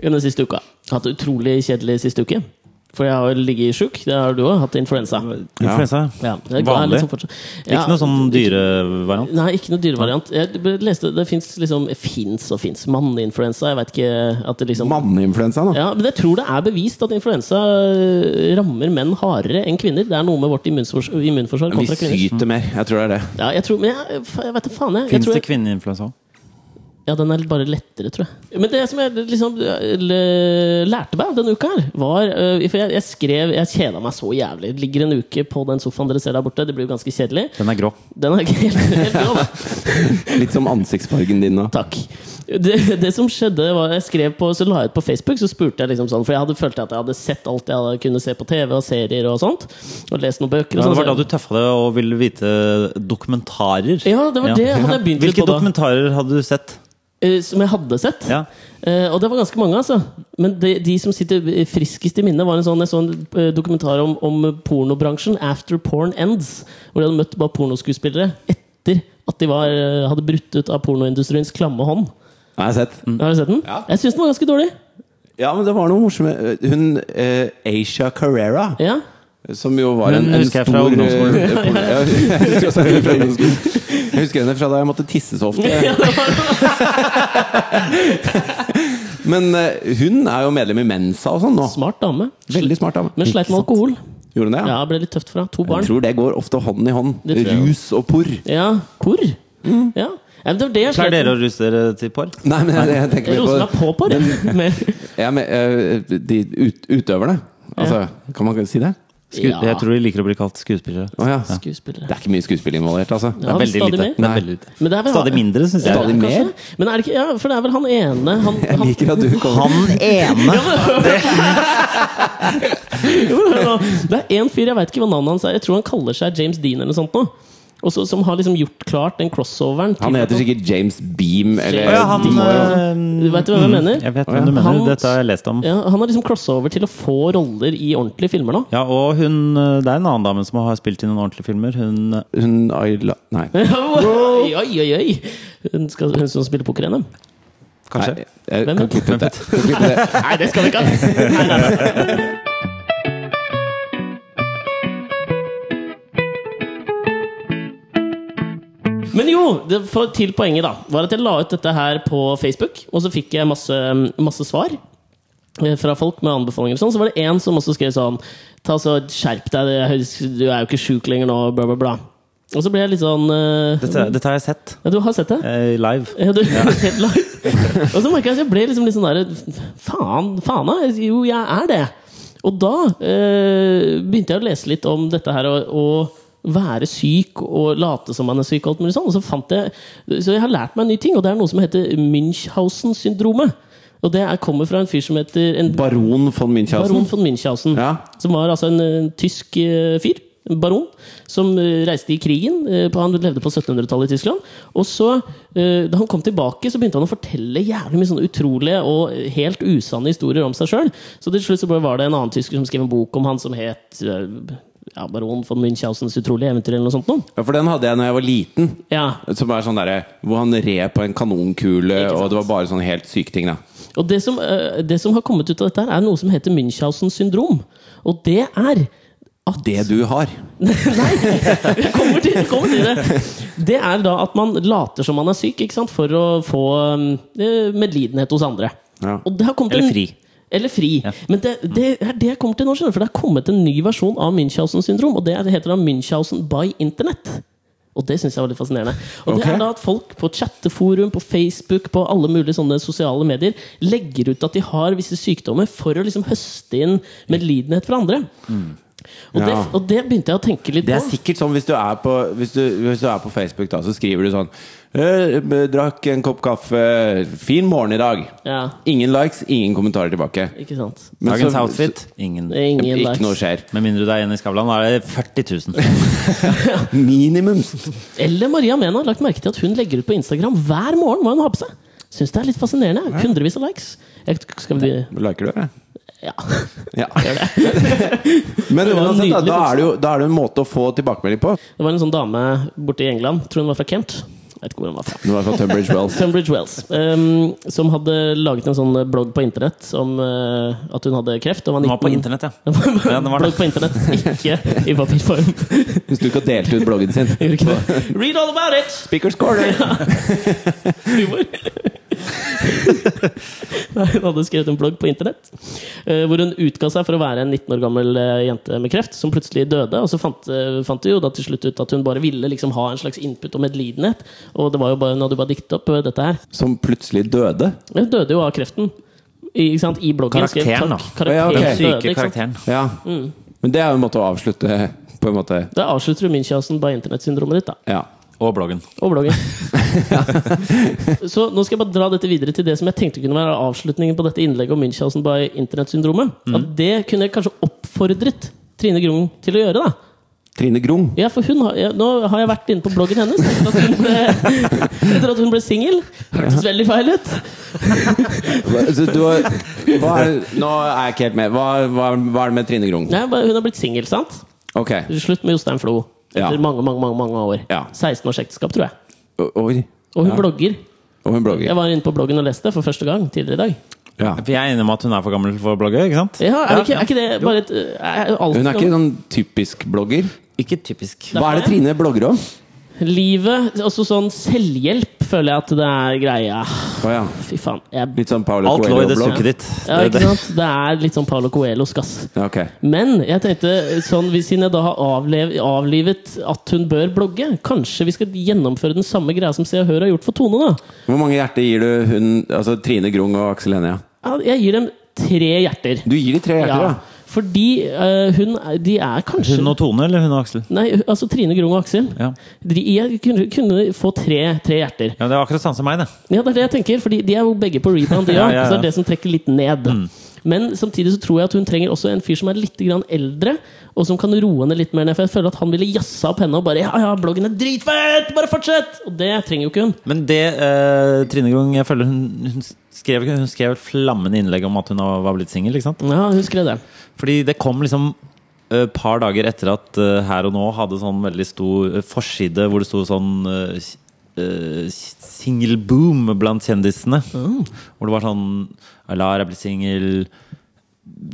Speaker 3: den siste uka. Jeg har hatt det utrolig kjedelig siste uke. For jeg har jo ligget sjuk. Det har du òg. Hatt influensa.
Speaker 1: Influensa.
Speaker 3: Ja, det er
Speaker 1: Vanlig.
Speaker 3: litt sånn fortsatt. Ja,
Speaker 1: Ikke noe sånn dyrevariant.
Speaker 3: Nei, ikke noe dyrevariant. Jeg b- leste Det fins liksom Fins og fins. Manneinfluensa. Jeg veit ikke at det liksom
Speaker 2: Manneinfluensa, da.
Speaker 3: ja, men jeg tror det er bevist at influensa øh, rammer menn hardere enn kvinner. Det er noe med vårt immunfors immunforsvar
Speaker 2: Vi
Speaker 3: kontra kvinner.
Speaker 2: syter mer. Jeg tror det er det.
Speaker 3: Ja, jeg tror, men jeg, jeg vet da faen, jeg. jeg,
Speaker 1: Fins
Speaker 3: tror
Speaker 1: det
Speaker 3: jeg
Speaker 1: kvinneinfluensa?
Speaker 3: ja, den er bare lettere, tror jeg. Men det som jeg liksom l- lærte meg denne uka her, var øh, For jeg, jeg skrev Jeg kjeda meg så jævlig. Det ligger en uke på den sofaen dere ser der borte. Det blir jo ganske kjedelig.
Speaker 1: Den er grå.
Speaker 3: Den er ikke <laughs> helt, helt bra, da.
Speaker 2: Litt som ansiktsfargen din nå.
Speaker 3: Takk. Det, det som skjedde, var jeg skrev på, så la jeg ut på Facebook, så spurte jeg liksom sånn, for jeg hadde følt at jeg hadde sett alt jeg hadde kunne se på TV og serier og sånt, og lest noen bøker
Speaker 1: Ja,
Speaker 3: og sånn,
Speaker 1: det
Speaker 3: sånt.
Speaker 1: var da du tøffa deg og ville vite dokumentarer.
Speaker 3: Ja, det var det jeg hadde begynt litt
Speaker 1: Hvilke
Speaker 3: på da.
Speaker 1: dokumentarer hadde du sett?
Speaker 3: Eh, Som jeg hadde sett.
Speaker 1: Ja.
Speaker 3: Eh, og det var ganske mange, altså. Men de, de som sitter friskest i minnet, var en sånn, jeg så en eh, dokumentar om, om pornobransjen, After Porn Ends, hvor de hadde møtt bare pornoskuespillere etter at de var, eh, hadde brutt ut av pornoindustriens klamme hånd.
Speaker 2: Har jeg sett.
Speaker 1: Mm.
Speaker 3: Har du sett den?
Speaker 2: Ja.
Speaker 3: Jeg syns den var ganske dårlig.
Speaker 2: Ja, men det var noe morsomt med Hun eh, Asia Carrera,
Speaker 3: Ja.
Speaker 2: som jo var
Speaker 1: Hun
Speaker 2: en, en
Speaker 1: husker jeg
Speaker 2: stor
Speaker 1: fra ungdomsskolen.
Speaker 2: eh, porno- <laughs> Ja, jeg husker også henne fra ungdomsskolen. Jeg husker henne fra da jeg måtte tisse så ofte.
Speaker 3: Ja, det var-
Speaker 2: Men eh, hun er jo medlem i Mensa og sånn nå.
Speaker 3: Smart dame.
Speaker 2: Veldig smart dame.
Speaker 3: Men sleit med alkohol.
Speaker 2: Gjorde hun det? Ja?
Speaker 3: Ja, ble litt tøft for henne. To
Speaker 2: Jeg
Speaker 3: barn.
Speaker 2: tror det går ofte hånd i hånd.
Speaker 3: Det tror jeg
Speaker 2: Rus og porr.
Speaker 3: Ja, hvor? Ja. ja, men det var det jeg
Speaker 1: Pleier
Speaker 3: sleit
Speaker 1: dere
Speaker 3: med.
Speaker 1: å ruse dere til porr?
Speaker 2: Nei, men jeg, jeg tenker
Speaker 3: Jeg
Speaker 2: mer på
Speaker 3: roser meg på på det. <laughs> Men,
Speaker 2: Ja, men, eh, de ut, utøverne. Altså, Kan man si det?
Speaker 1: Sku
Speaker 3: Ja.
Speaker 1: Jeg tror de liker å bli kalt skuespillere.
Speaker 2: Å ja. Det
Speaker 3: skuespillere.
Speaker 2: er ikke mye skuespill involvert, altså.
Speaker 1: Det
Speaker 3: Ja,
Speaker 1: er
Speaker 3: men
Speaker 1: veldig
Speaker 3: stadig
Speaker 1: lite.
Speaker 3: mer.
Speaker 1: Det
Speaker 2: Nei.
Speaker 1: er veldig lite.
Speaker 3: Men det er vel
Speaker 1: Stadig mindre, syns jeg.
Speaker 2: Stadig-
Speaker 3: Kanskje?
Speaker 2: mer?
Speaker 3: Men er det ikke, ja, for det er vel han ene han,
Speaker 2: Jeg
Speaker 3: han, <laughs>
Speaker 2: liker at du kommer
Speaker 1: Han ene!
Speaker 3: Jo, hør nå. <laughs> Det er en fyr, jeg vet ikke hva navnet hans er. Jeg tror han kaller seg James Dean eller noe sånt nå. Og så- som har liksom gjort klart den crossoveren. til-
Speaker 2: Han heter sikkert James Beam, eller
Speaker 1: Å ja, han
Speaker 2: de må jo-
Speaker 1: eh,
Speaker 3: Vet du hva jeg
Speaker 1: mm,
Speaker 3: mener?
Speaker 1: Jeg vet hvem du mener.
Speaker 3: Han-
Speaker 1: Dette har jeg lest om.
Speaker 3: ja, han har liksom crossover til å få roller i ordentlige filmer nå.
Speaker 1: Ja, og hun eh, Det er en annen dame som har spilt i noen ordentlige filmer. Hun eh,
Speaker 2: Hun Ayla Nei.
Speaker 3: <laughs> Oi, oi, oi, oi! Hun, skal, hun som spiller poker-NM?
Speaker 1: Kanskje.
Speaker 2: Nei, jeg
Speaker 3: Hvem
Speaker 2: kan
Speaker 3: vet?
Speaker 2: klippe ut det. Kan klippe det.
Speaker 3: Nei, det skal vi ikke ha! Nei, nei, nei. Men jo, det, for, til poenget, da. Var at jeg la ut dette her på Facebook, og så fikk jeg masse, masse svar. eh, Fra folk med anbefalinger og sånn, så var det en som også skrev sånn Ta så Skjerp deg, det høres- du er jo ikke sjuk lenger nå, bla, bla, bla. Og så ble jeg litt sånn eh,
Speaker 1: Dette, dette har jeg sett
Speaker 3: ja, Du har sett det?
Speaker 1: eh, live.
Speaker 3: Ja, du, <laughs> helt langt. Og så merka jeg at jeg ble liksom litt sånn derre Faen, faen da. Jo, jeg er det. Og da eh, begynte jeg å lese litt om dette her å, å være syk og late som man er syk. Og alt mulig sånn. Og så, fant jeg, så jeg har lært meg en ny ting, og det er noe som heter Münchhausen-syndromet. Og det er, kommer fra en fyr som heter en
Speaker 2: Baron von Münchhausen.
Speaker 3: baron von Münchhausen.
Speaker 2: Ja.
Speaker 3: Som var altså en, eh, tysk eh, fyr, en baron, som eh, reiste i krigen. eh, på- Han levde på 1700-tallet i Tyskland. Og så, eh, da han kom tilbake, så begynte han å fortelle jævlig mye sånne utrolige og eh, helt usanne historier om seg sjøl. Så til slutt så bare var det en annen tysker som skrev en bok om han som het eh, ja, baron von Münchhausens utrolige eventyr, eller noe sånt noe.
Speaker 2: Ja, for den hadde jeg da jeg var liten.
Speaker 3: Ja,
Speaker 2: Som er sånn derre Hvor han red på en kanonkule,
Speaker 3: Ikke sant.
Speaker 2: og det var bare sånne helt syke ting, da.
Speaker 3: Og det som, eh, det som har kommet ut av dette, her er noe som heter Münchhausens syndrom. Og det er at
Speaker 2: Det du har.
Speaker 3: Jeg kommer til, jeg kommer til det. Det er da at man later som man er syk ikke sant? for å få um, eh, medlidenhet hos andre.
Speaker 2: Ja.
Speaker 3: Og det har kommet
Speaker 1: Eller
Speaker 3: en-
Speaker 1: fri.
Speaker 3: Eller fri.
Speaker 1: Ja.
Speaker 3: Men det, det er det jeg kommer til nå, skjønner du, for det har kommet en ny versjon av Münchhausen syndrom. Og det heter da Münchhausen by internett. Og Og det syns jeg var litt fascinerende. Og det
Speaker 2: Ok.
Speaker 3: er da at folk på chatteforum, på Facebook, på alle mulige sånne sosiale medier legger ut at de har visse sykdommer for å liksom høste inn medlidenhet fra andre. Og, det,
Speaker 2: Mm. Ja.
Speaker 3: og det begynte jeg å tenke litt
Speaker 2: Det er
Speaker 3: på.
Speaker 2: sikkert sånn hvis du er på, hvis du, hvis du er på Facebook, da, så skriver du sånn «Øh, Drakk en kopp kaffe. Fin morgen i dag.
Speaker 3: Ja,
Speaker 2: Ingen likes, ingen kommentarer tilbake.
Speaker 3: ikke sant?
Speaker 2: Men
Speaker 1: Dagens
Speaker 2: så-
Speaker 1: outfit? Ingen.
Speaker 3: Det er Ingen
Speaker 2: Ikke
Speaker 3: likes.
Speaker 2: noe
Speaker 3: <laughs>
Speaker 2: skjer.
Speaker 1: Med mindre du er en i Skavlan, da er det 40 000.
Speaker 2: Minimums.
Speaker 3: Eller Maria Mena har lagt merke til at hun legger ut på Instagram hver morgen hva hun har på seg. Syns det er litt fascinerende. Hundrevis av likes. Jeg, skal vi
Speaker 2: <laughs> Liker du det?
Speaker 3: Ja.
Speaker 2: <laughs> Ja. <laughs> Men
Speaker 3: Det var
Speaker 2: uansett, da,
Speaker 3: nydelig, altså.
Speaker 2: da, er det jo, da er det en måte å få tilbakemelding på.
Speaker 3: Det var en sånn dame borte i England, tror hun var fra Kent. Jeg vet ikke hvor hun var fra.
Speaker 2: Nå er det fra Tunbridge Wells.
Speaker 3: Tunbridge Wells. ehm, som hadde laget en sånn blogg på internett om eh, at hun hadde kreft. og var
Speaker 1: Den var på
Speaker 3: <laughs> 19
Speaker 1: internett, ja. ja den var det.
Speaker 3: blogg på internett, ikke i papirform.
Speaker 1: <laughs>
Speaker 2: Hvis du ikke har delt ut bloggen sin.
Speaker 3: <laughs> Gjorde ikke det. Read all about it!
Speaker 2: Speakers corner!
Speaker 3: Humor. <laughs> Nei, hun hadde skrevet en blogg på internett eh, hvor hun utga seg for å være en 19 år gammel eh, jente med kreft som plutselig døde. Og så fant, eh, fant de jo da til slutt ut at hun bare ville liksom ha en slags input om medlidenhet. Og det var jo bare, hun hadde jo bare diktet opp eh, dette her.
Speaker 2: Som plutselig døde.
Speaker 3: Hun dødde jo av kreften. I, ikke sant? I bloggen. skrev
Speaker 1: Karakteren,
Speaker 3: takk,
Speaker 1: da.
Speaker 3: Karakteren
Speaker 2: Ja, ok.
Speaker 1: Den
Speaker 3: døde,
Speaker 1: syke
Speaker 3: ikke sant?
Speaker 1: karakteren.
Speaker 2: Ja. Men det er jo en måte å avslutte på en måte
Speaker 3: Da avslutter du Münchhausen by internettsyndromet ditt, da.
Speaker 2: Ja.
Speaker 1: Og bloggen.
Speaker 3: Og <laughs> bloggen. så nå skal jeg bare dra dette videre til det som jeg tenkte kunne være avslutningen på dette innlegget om Münchhausen by internettsyndromet.
Speaker 2: Mm.
Speaker 3: At det kunne jeg kanskje oppfordret Trine Grung til å gjøre, da.
Speaker 2: Trine Grung.
Speaker 3: Ja, for hun har, ja, nå har jeg vært inne på bloggen hennes etter at hun
Speaker 2: <laughs>
Speaker 3: ble, etter at hun ble singel. Hørtes veldig feil ut.
Speaker 2: Hva, så du har, hva er, nå er jeg ikke helt med. Hva, hva, hva er det med Trine Grung?
Speaker 3: Nei, bare- hun har blitt singel, sant?
Speaker 2: Ok.
Speaker 3: Slutt med Jostein Flo. Etter
Speaker 2: Ja.
Speaker 3: mange, mange, mange, mange år.
Speaker 2: Ja.
Speaker 3: 16 års ekteskap, tror jeg.
Speaker 2: O- Oi.
Speaker 3: Og hun
Speaker 2: Ja.
Speaker 3: blogger.
Speaker 2: Og hun blogger.
Speaker 3: Jeg var inne på bloggen og leste for første gang tidligere i dag.
Speaker 2: Ja.
Speaker 1: Vi er enige om at hun er for gammel for å blogge, ikke sant?
Speaker 3: Ja, er, det ikke, er ikke det bare et eh, er alt,
Speaker 2: Hun er ikke sånn typisk blogger.
Speaker 1: Ikke typisk.
Speaker 2: Hva er det Trine blogger om?
Speaker 3: Livet, også sånn selvhjelp, føler jeg at det er greia. Ah,
Speaker 2: Å ja.
Speaker 3: Fy faen. Jeg,
Speaker 2: Litt sånn Paolo
Speaker 1: Alt lå i det
Speaker 2: Coelho-blogg.
Speaker 1: sukket ditt.
Speaker 3: ja, ikke sant? Det er litt sånn Paulo Coelhos gass.
Speaker 2: Ja, ok.
Speaker 3: Men jeg tenkte, sånn, hvis- siden jeg da har avlev, avlivet at hun bør blogge, kanskje vi skal gjennomføre den samme greia som Se og Hør har gjort for Tone, da?
Speaker 2: Hvor mange hjerter gir du hun, altså Trine Grung og Aksel Hennie?
Speaker 3: Ja, Jeg gir dem tre hjerter.
Speaker 2: Du gir de tre hjerter, ja?
Speaker 3: Fordi eh, hun er- De er kanskje
Speaker 1: Hun og Tone, eller hun og Aksel?
Speaker 3: Nei, altså Trine Grung og Aksel.
Speaker 1: Ja.
Speaker 3: De, jeg kunne, kunne få tre, tre hjerter.
Speaker 1: Ja, Det er akkurat samme som meg, det.
Speaker 3: Ja, det er det jeg tenker, fordi de er jo begge på rebound, de
Speaker 1: Ja, ja, Mm.
Speaker 3: òg.
Speaker 1: ja.
Speaker 3: Så det er det som trekker litt ned. Men samtidig så tror jeg at hun trenger også en fyr som er litt grann eldre, og som kan roe henne litt mer ned. For jeg føler at han ville jazza opp henne og bare Ja, ja, bloggen er dritfett! Bare fortsett! Og det trenger jo ikke hun.
Speaker 1: Men det eh, Trine Grung jeg føler hun, hun, skrev, hun skrev et flammende innlegg om at hun var blitt singel. ikke sant?
Speaker 3: Ja, hun skrev det.
Speaker 1: Fordi det kom liksom et par dager etter at eh, Her og Nå hadde sånn veldig stor eh, forside hvor det sto sånn eh, s- eh, Singelboom blant kjendisene.
Speaker 2: Mm.
Speaker 1: Hvor det var sånn Alar er blitt singel,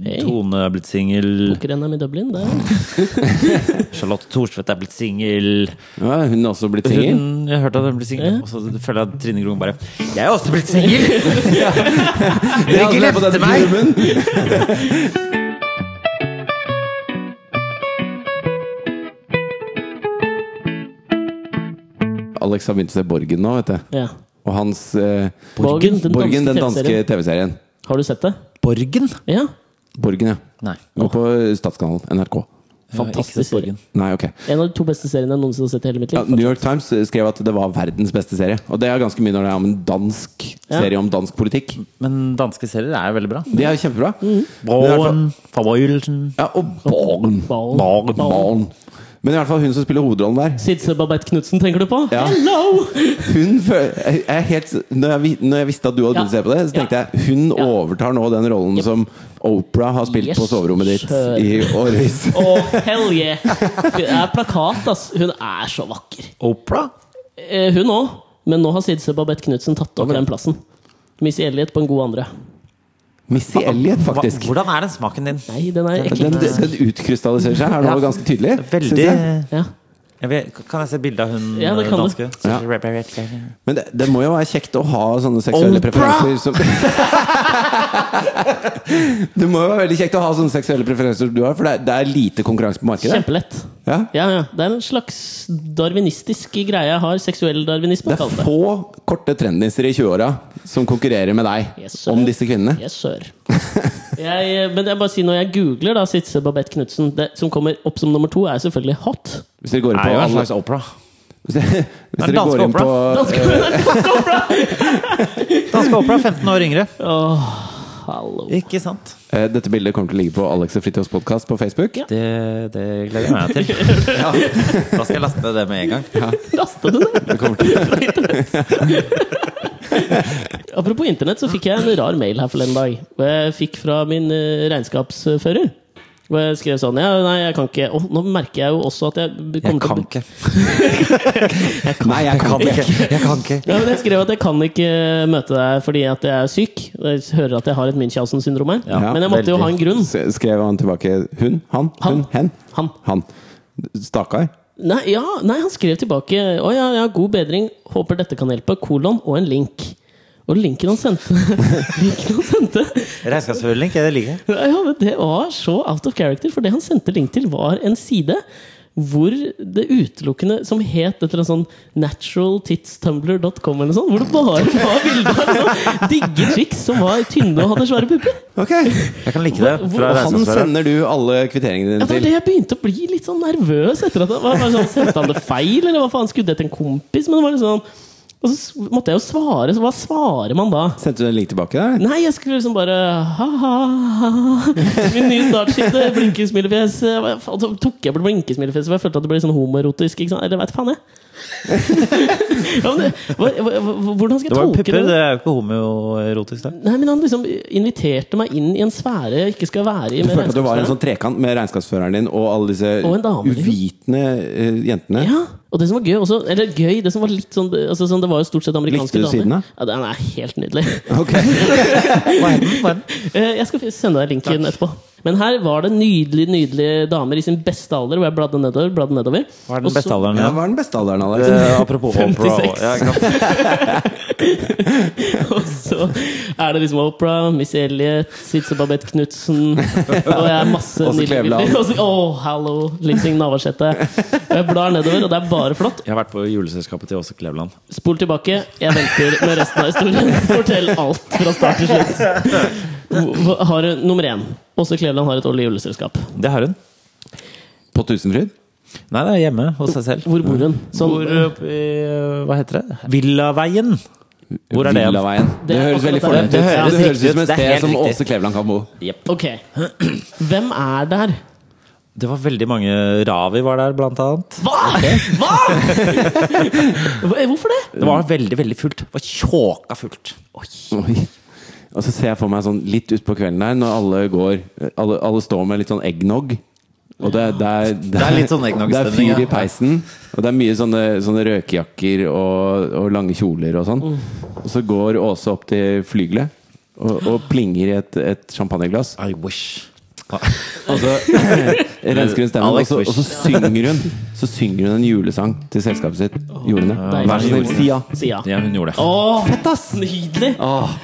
Speaker 3: Hey.
Speaker 1: Tone er blitt singel,
Speaker 3: Poker-NM i Dublin, det.
Speaker 1: Charlotte Thorstvedt er blitt singel.
Speaker 2: ja hun er også blitt singel?
Speaker 1: Hun- Jeg hørte at hun ble singel, og så føler jeg at Trine Grung bare Jeg er også blitt singel!
Speaker 2: <laughs> Det er altså på denne filmen. <laughs> Alex har begynt å se Borgen nå, vet du.
Speaker 3: Ja.
Speaker 2: Og hans eh,
Speaker 3: Borgen, den
Speaker 2: Borgen, den
Speaker 3: danske
Speaker 2: danske TV-serien.
Speaker 3: Har du sett det?
Speaker 1: Borgen?
Speaker 3: Ja.
Speaker 2: Borgen, ja.
Speaker 1: Nei.
Speaker 2: Nå på Statskanalen. NRK.
Speaker 1: Fantastisk.
Speaker 3: Fantastisk
Speaker 1: Borgen.
Speaker 2: Nei, ok.
Speaker 3: En av de to beste seriene jeg noensinne har sett i hele mitt
Speaker 2: Ja,
Speaker 3: liv.
Speaker 2: New York Times skrev at det var verdens beste serie. Og det er ganske mye når det er om en dansk
Speaker 3: Ja.
Speaker 2: serie om dansk politikk.
Speaker 1: Men danske serier er jo veldig bra.
Speaker 2: Det er jo kjempebra.
Speaker 3: Mm.
Speaker 2: Men i hvert fall-
Speaker 1: Braun, Favolsen
Speaker 2: Ja, og Borgen.
Speaker 3: Borgen.
Speaker 2: Borgen. Men i hvert fall hun som spiller hovedrollen der,
Speaker 3: Sidse Babette Knutsen, tenker du på?
Speaker 2: Ja.
Speaker 3: Hello!
Speaker 2: hun føler, jeg er helt, når, jeg, vi- når jeg visste at du hadde
Speaker 3: Ja.
Speaker 2: begynt å se på det, så tenkte
Speaker 3: Ja.
Speaker 2: jeg hun
Speaker 3: Ja.
Speaker 2: overtar nå den rollen som Opera har spilt
Speaker 3: Yes,
Speaker 2: på soverommet ditt
Speaker 3: sir.
Speaker 2: i årevis.
Speaker 3: Oh, hell yeah! Det er plakat, ass. Hun er så vakker.
Speaker 1: Opera?
Speaker 3: Eh, Hun òg, men nå har Sidse Babette Knutsen tatt over den plassen. Missy Elliot på en god andre.
Speaker 2: Missy Elliot,
Speaker 1: Hva,
Speaker 2: faktisk.
Speaker 1: hvordan er den smaken din?
Speaker 3: Nei, den er ekkel.
Speaker 2: Den, den utkrystalliserer seg her nå
Speaker 1: Ja.
Speaker 2: ganske tydelig. synes
Speaker 1: Veldig
Speaker 2: jeg.
Speaker 3: Ja.
Speaker 1: jeg vet, Kan jeg se bilde av hun
Speaker 3: Ja, det
Speaker 1: eh,
Speaker 3: kan du.
Speaker 1: danske?
Speaker 2: Ja.
Speaker 1: Ja.
Speaker 2: Men det, det må jo være kjekt å ha sånne seksuelle
Speaker 1: Opera!
Speaker 2: preferanser som <laughs> Det må jo være veldig kjekt å ha sånne seksuelle preferanser som du har, for det er, det er lite konkurranse på markedet.
Speaker 3: Kjempelett.
Speaker 2: Ja.
Speaker 3: Ja, ja. Det er en slags darwinistisk greie jeg har. Seksuell darwinisme,
Speaker 2: Det er
Speaker 3: kalles det.
Speaker 2: få korte trendnisser i 20-åra som konkurrerer med deg
Speaker 3: Yes, sir.
Speaker 2: om disse kvinnene.
Speaker 3: Yes, sir. Jeg, eh, men jeg bare sier når jeg googler da Sitse Babette Knutsen, det som kommer opp som nummer to, er selvfølgelig hot.
Speaker 2: Hvis dere går inn
Speaker 1: er
Speaker 2: på
Speaker 1: jo en
Speaker 2: alle
Speaker 1: slags opera.
Speaker 2: <laughs> Hvis dere, hvis
Speaker 1: er
Speaker 2: dere
Speaker 1: danske
Speaker 2: går inn på
Speaker 1: Danske opera, 15 år yngre.
Speaker 3: Åh, hallo.
Speaker 1: Ikke sant?
Speaker 2: eh, Dette bildet kommer til å ligge på Alex og Fritjofs podkast på Facebook.
Speaker 3: Ja.
Speaker 1: Det, det gleder jeg meg
Speaker 3: <laughs>
Speaker 1: til. Da skal jeg laste ned det med en gang.
Speaker 3: Lasta du det?
Speaker 2: Det
Speaker 3: <laughs>
Speaker 2: kommer til
Speaker 3: Apropos internett, så fikk jeg en rar mail her forleden dag. Og jeg fikk fra min eh, regnskapsfører. Og jeg skrev sånn ja, Nei, jeg kan ikke Åh, Nå merker jeg jo også at jeg kommer
Speaker 1: Jeg
Speaker 3: til å
Speaker 1: kan
Speaker 3: be-
Speaker 1: ikke.
Speaker 2: Nei, jeg kan ikke.
Speaker 1: Jeg kan ikke.
Speaker 3: Ja, men jeg skrev at jeg kan ikke eh, møte deg fordi at jeg er syk. Jeg hører at jeg har et Munchhausen-syndrom her.
Speaker 1: Ja,
Speaker 3: men jeg måtte jo
Speaker 1: veldig.
Speaker 3: ha en grunn.
Speaker 2: S- Skrev han tilbake hun? Han? Hun? Hen?
Speaker 3: Han.
Speaker 2: Han. Stakar?
Speaker 3: Nei, ja, nei, han skrev tilbake Å ja, ja, god bedring. Håper dette kan hjelpe. Kolon og en link. Og linken han sendte <laughs> Linken han sendte
Speaker 1: Regnskapsførerlink, det liker jeg.
Speaker 3: Ja, men Det var så out of character, for det han sendte link til, var en side hvor det utelukkende som het et eller annet sånn naturaltitstumbler.com eller noe sånt, hvor det bare var bilder av sånn digge chicks som var tynne og hadde svære pupper.
Speaker 2: <laughs> Ok!
Speaker 1: Jeg kan like det fra
Speaker 2: Og han
Speaker 1: regnskapsføreren.
Speaker 2: sender du alle kvitteringene
Speaker 3: Ja,
Speaker 2: dine
Speaker 3: det var
Speaker 2: til.
Speaker 3: det jeg begynte å bli litt sånn nervøs etter at det var bare sånn, Sendte han det feil, eller hva faen? Skulle det til en kompis? Men det var litt sånn Og så s- måtte jeg jo svare, så hva svarer man da?
Speaker 2: Sendte du en link tilbake? der?
Speaker 3: Nei, jeg skulle liksom bare ha-ha. Min nye startskifte, blinkesmilefjes. Jeg var- faen, Så tok jeg på blinkesmilefjes, for jeg følte at det ble sånn homoerotisk. Ikke sant? Eller veit faen, jeg. <laughs> Ja, men det, hva, hva, hva- hvordan skal jeg
Speaker 1: Det var jo
Speaker 3: tolke
Speaker 1: pupper,
Speaker 3: det?
Speaker 1: det er jo ikke homoerotisk, det.
Speaker 3: Nei, men Han liksom inviterte meg inn i en sfære jeg ikke skal være i.
Speaker 2: Du
Speaker 3: med
Speaker 2: følte at du var en
Speaker 3: regnskapsføreren.
Speaker 2: sånn trekant med regnskapsføreren din og alle disse
Speaker 3: Og en dame, liksom.
Speaker 2: uvitende eh, jentene?
Speaker 3: Ja, og det som var gøy også, eller gøy, det som var litt sånn, altså, sånn Det var jo stort sett amerikanske
Speaker 2: Likte du
Speaker 3: damer.
Speaker 2: siden, da?
Speaker 3: Ja, den er helt nydelig.
Speaker 2: Ok.
Speaker 1: Hva er den? Hva er den?
Speaker 3: Eh, Jeg skal sende deg linken etterpå. Men her var det nydelige nydelige damer i sin beste alder, hvor jeg bladde nedover. bladde nedover
Speaker 1: Hva er
Speaker 3: Og
Speaker 1: den
Speaker 3: så-
Speaker 1: beste alderen?
Speaker 2: Ja,
Speaker 1: Ja.
Speaker 2: hva er den beste alderen, Alex?
Speaker 1: Eh, apropos opera.
Speaker 3: 56.
Speaker 1: Ja, ikke
Speaker 3: <laughs>
Speaker 1: sant?
Speaker 3: Og så er det liksom Opera, Miss Elliot, Sitse Babette Knutsen Og jeg er
Speaker 1: <laughs>
Speaker 3: masse
Speaker 2: Åse
Speaker 3: nydelige
Speaker 2: Kleveland.
Speaker 3: bilder. <laughs> Og så- Åh, hallo! Liv Signe Navarsete. Og jeg blar nedover, og det er bare flott.
Speaker 1: Jeg har vært på juleselskapet til Åse Kleveland.
Speaker 3: Spol tilbake. Jeg venter med resten av historien. <laughs> Fortell alt fra start til slutt. Hva- Har du nummer én? Åse Kleveland har et årlig juleselskap.
Speaker 1: Det har hun.
Speaker 2: På Tusenfryd?
Speaker 1: Nei, det er hjemme hos seg selv.
Speaker 3: Hvor bor hun? Sånn- Som-
Speaker 1: Hvor oppe i eh, Hva heter det? Villaveien. Hvor er det? igjen?
Speaker 2: Villaveien.
Speaker 3: Det
Speaker 2: Det
Speaker 3: er
Speaker 2: høres veldig
Speaker 3: akkurat der.
Speaker 2: fornemt ut. Det
Speaker 1: Det høres
Speaker 2: høres,
Speaker 1: riktig
Speaker 2: ut som
Speaker 1: ut.
Speaker 2: et
Speaker 1: Det er
Speaker 2: sted
Speaker 1: helt
Speaker 2: som
Speaker 1: riktig.
Speaker 2: Åse Kleveland kan bo.
Speaker 3: Ok. <clears throat> Hvem er der?
Speaker 1: Det var veldig mange Ravi var der, blant annet.
Speaker 2: <laughs>
Speaker 3: Hva?! Hva?! Hva- Eh, Hvorfor det?
Speaker 1: Det var veldig, veldig fullt. Det var tjåka fullt.
Speaker 2: Oi. <laughs> Og så ser jeg for meg sånn litt utpå kvelden der, når alle går Alle, alle står med litt sånn eggnog. Og det, er- det, er, det,
Speaker 1: er litt sånn
Speaker 2: <laughs> det er
Speaker 1: eggnogstemning,
Speaker 2: fyr i
Speaker 1: ja.
Speaker 2: peisen, og det er mye sånne, sånne røkejakker og, og lange kjoler og sånn.
Speaker 1: Mm.
Speaker 2: Og så går Åse opp til flygelet og, og plinger i et, et champagneglass.
Speaker 1: I wish.
Speaker 2: Og
Speaker 1: <laughs>
Speaker 2: så rensker hun stemmen, og
Speaker 1: Alex
Speaker 2: så,
Speaker 1: Wish.
Speaker 2: og så synger hun Så synger hun en julesang til selskapet sitt. Gjorde hun det? Vær så snill, si ja.
Speaker 3: Si ja.
Speaker 1: Ja, hun gjorde det.
Speaker 3: Åh, fett, ass! Nydelig!
Speaker 2: Åh.